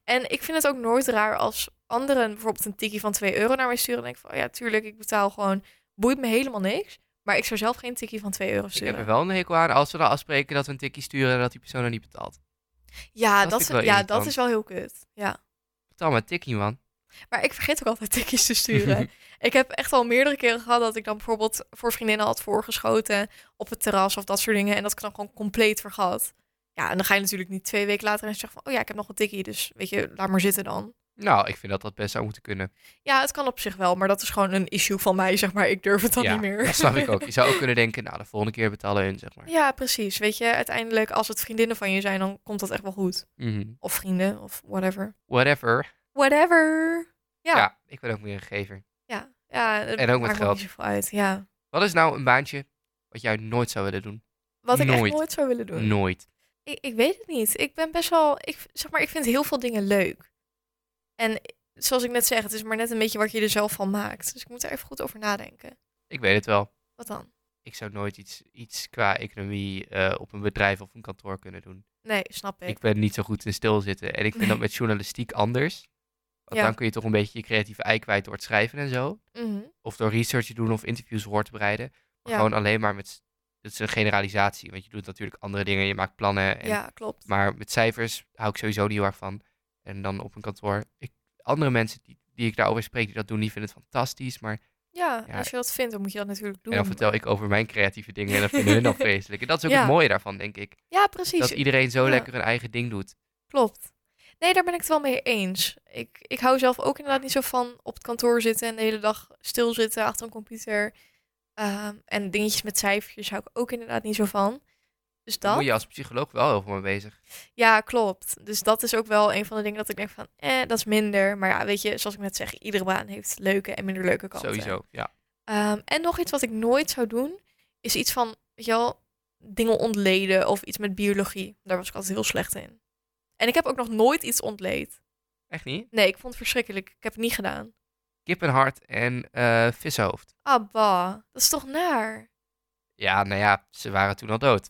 S2: En ik vind het ook nooit raar als anderen bijvoorbeeld een tikkie van 2 euro naar mij sturen. Dan denk ik van, oh ja, tuurlijk, ik betaal gewoon. Boeit me helemaal niks. Maar ik zou zelf geen tikkie van 2 euro
S1: Ik heb er
S2: sturen.
S1: wel een hekel aan als we dan afspreken dat we een tikkie sturen en dat die persoon dan niet betaalt.
S2: Ja,
S1: Dat
S2: dat,
S1: vind ik
S2: is-
S1: wel
S2: ja
S1: irritant.
S2: dat is wel heel kut. Ja.
S1: Betaal maar een tikkie, man.
S2: Maar ik vergeet ook altijd tikkies te sturen. ik heb echt al meerdere keren gehad dat ik dan bijvoorbeeld voor vriendinnen had voorgeschoten. Op het terras of dat soort dingen. En dat ik dan gewoon compleet vergat. Ja, en dan ga je natuurlijk niet twee weken later en zeggen van... Oh ja, ik heb nog een tikkie, dus weet je, laat maar zitten dan.
S1: Nou, ik vind dat dat best zou moeten kunnen.
S2: Ja, het kan op zich wel, maar dat is gewoon een issue van mij, zeg maar. Ik durf het dan
S1: ja,
S2: niet meer.
S1: Dat snap ik ook. Je zou ook kunnen denken, nou, de volgende keer betalen hun, zeg maar.
S2: Ja, precies. Weet je, uiteindelijk als het vriendinnen van je zijn, dan komt dat echt wel goed.
S1: Mhm.
S2: Of vrienden, of whatever.
S1: Whatever.
S2: Whatever. Ja.
S1: Ja. ik ben ook meer een gever.
S2: Ja, ja het
S1: En ook met
S2: maakt me
S1: geld.
S2: niet zoveel uit. Ja.
S1: Wat is nou een baantje wat jij nooit zou willen doen?
S2: Wat ik
S1: Nooit.
S2: echt nooit zou willen doen.
S1: Nooit.
S2: Ik, ik weet het niet. Ik ben best wel, ik, zeg maar, ik vind heel veel dingen leuk. En zoals ik net zeg, het is maar net een beetje wat je er zelf van maakt. Dus ik moet er even goed over nadenken.
S1: Ik weet het wel.
S2: Wat dan?
S1: Ik zou nooit iets, iets qua economie eh, op een bedrijf of een kantoor kunnen doen.
S2: Nee, snap ik.
S1: Ik ben niet zo goed in stilzitten. En ik vind dat
S2: Nee.
S1: met journalistiek anders. Want
S2: Ja.
S1: dan kun je toch een beetje je creatieve ei kwijt door het schrijven en zo.
S2: Mhm.
S1: Of door research te doen of interviews voor te bereiden. Maar
S2: Ja.
S1: gewoon alleen maar met... s- Het is een generalisatie, want je doet natuurlijk andere dingen. Je maakt plannen. En,
S2: Ja, klopt.
S1: Maar met cijfers hou ik sowieso niet heel erg van. En dan op een kantoor. Ik, andere mensen die, die ik daarover spreek, die dat doen, die vinden het fantastisch. Maar
S2: Ja,
S1: Ja.
S2: als je dat vindt, dan moet je dat natuurlijk doen.
S1: en dan vertel ik over mijn creatieve dingen en dat vinden hun dan vreselijk. En dat is ook
S2: Ja.
S1: het mooie daarvan, denk ik.
S2: Ja, precies.
S1: Dat iedereen zo
S2: Ja.
S1: lekker hun eigen ding doet.
S2: Klopt. Nee, daar ben ik het wel mee eens. Ik, ik hou zelf ook inderdaad niet zo van op het kantoor zitten en de hele dag stilzitten achter een computer. Ehm, en dingetjes met cijfertjes hou ik ook inderdaad niet zo van. Dus
S1: Daar
S2: dat?
S1: moet je als psycholoog wel heel veel mee bezig.
S2: Ja, klopt. Dus dat is ook wel een van de dingen dat ik denk van, eh, dat is minder. Maar ja, weet je, zoals ik net zeg, iedere baan heeft leuke en minder leuke kanten.
S1: Sowieso, ja.
S2: Ehm, en nog iets wat ik nooit zou doen, is iets van, weet je wel, dingen ontleden of iets met biologie. Daar was ik altijd heel slecht in. En ik heb ook nog nooit iets ontleed.
S1: Echt niet?
S2: Nee, ik vond het verschrikkelijk. Ik heb het niet gedaan.
S1: Kippenhart en eh, vishoofd.
S2: Ah, bah. Dat is toch naar?
S1: Ja, nou ja, ze waren toen al dood.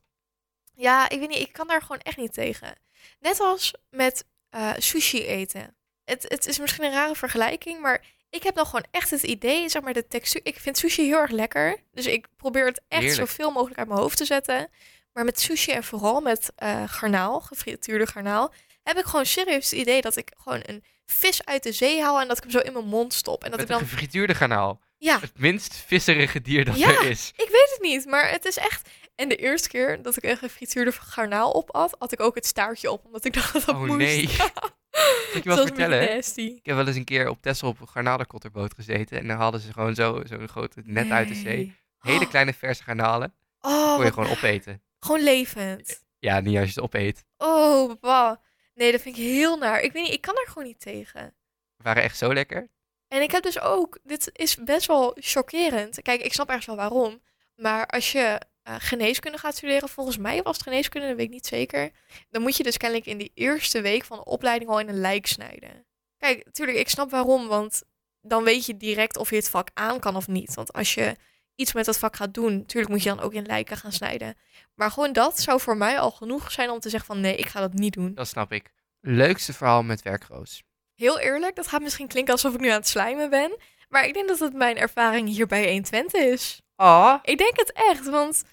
S2: Ja, ik weet niet. Ik kan daar gewoon echt niet tegen. Net als met eh, sushi eten. Het, het is misschien een rare vergelijking, maar ik heb dan gewoon echt het idee, zeg maar, de textuur. Ik vind sushi heel erg lekker. Dus ik probeer het echt
S1: Heerlijk.
S2: zoveel mogelijk uit mijn hoofd te zetten. Maar met sushi en vooral met eh, garnaal, gefrituurde garnaal, heb ik gewoon serieus het idee dat ik gewoon een vis uit de zee haal en dat ik hem zo in mijn mond stop. En dat
S1: met
S2: ik dan
S1: een gefrituurde garnaal.
S2: Ja,
S1: Het minst visserige dier dat
S2: Ja.
S1: er is.
S2: ik weet het niet, maar het is echt... En de eerste keer dat ik een gefrituurde garnaal op had, had ik ook het staartje op, omdat ik dacht dat dat
S1: Oh,
S2: moest.
S1: nee.
S2: Dat
S1: Zal ik je
S2: was
S1: wel
S2: een
S1: vertellen?
S2: beetje nasty.
S1: Ik heb wel eens een keer op Texel op een garnalenkotter gezeten. En dan hadden ze gewoon zo- zo'n grote net uit de zee.
S2: Nee.
S1: Hele
S2: Oh,
S1: kleine verse garnalen.
S2: Oh,
S1: Kon je
S2: wat-
S1: gewoon opeten.
S2: gewoon levend.
S1: Ja, niet als je het opeet.
S2: Oh, bah. Nee, dat vind ik heel naar. Ik weet niet, ik kan er gewoon niet tegen.
S1: Ze waren echt zo lekker.
S2: En ik heb dus ook, dit is best wel chockerend. Kijk, ik snap ergens wel waarom. Maar als je eh, geneeskunde gaat studeren, volgens mij was het geneeskunde, dat weet ik niet zeker. Dan moet je dus kennelijk in die eerste week van de opleiding al in een lijk snijden. Kijk, natuurlijk, ik snap waarom. Want dan weet je direct of je het vak aan kan of niet. Want als je iets met dat vak gaat doen, natuurlijk moet je dan ook in lijken gaan snijden. Maar gewoon dat zou voor mij al genoeg zijn om te zeggen van nee, ik ga dat niet doen.
S1: Dat snap ik. Leukste verhaal met werkroos.
S2: Heel eerlijk, dat gaat misschien klinken alsof ik nu aan het slijmen ben. Maar ik denk dat het mijn ervaring hier bij 120 is.
S1: Ah.
S2: Ik denk het echt, want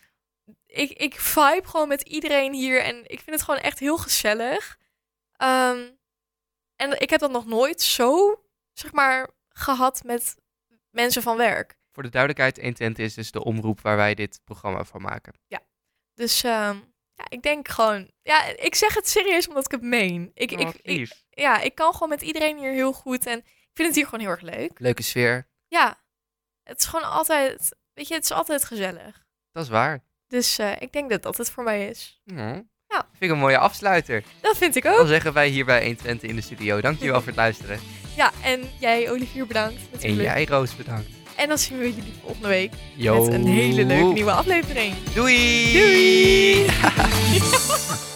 S2: ik, ik vibe gewoon met iedereen hier. En ik vind het gewoon echt heel gezellig. Ehm, en ik heb dat nog nooit zo, zeg maar, gehad met mensen van werk.
S1: Voor de duidelijkheid, Intent is dus de omroep waar wij dit programma van maken.
S2: Dus ehm, ja, ik denk gewoon... Ja, ik zeg het serieus omdat ik het meen. Ik,
S1: Oh,
S2: ik,
S1: wat
S2: ik,
S1: lief.
S2: ja, ik kan gewoon met iedereen hier heel goed. En ik vind het hier gewoon heel erg leuk.
S1: Leuke sfeer.
S2: Ja, het is gewoon altijd, weet je, het is altijd gezellig.
S1: Dat is waar.
S2: Dus eh, ik denk dat dat het voor mij is.
S1: Ja.
S2: Ja.
S1: Vind ik een mooie afsluiter.
S2: Dat vind ik
S1: Dan
S2: ook.
S1: zeggen wij hier bij 120 in de studio. Dankjewel voor het luisteren.
S2: Ja, en jij, Olivier, bedankt.
S1: En
S2: Natuurlijk.
S1: jij, Roos, bedankt.
S2: En dan zien we jullie volgende week
S1: Yo.
S2: met een hele leuke nieuwe aflevering.
S1: Doei!
S2: Doei!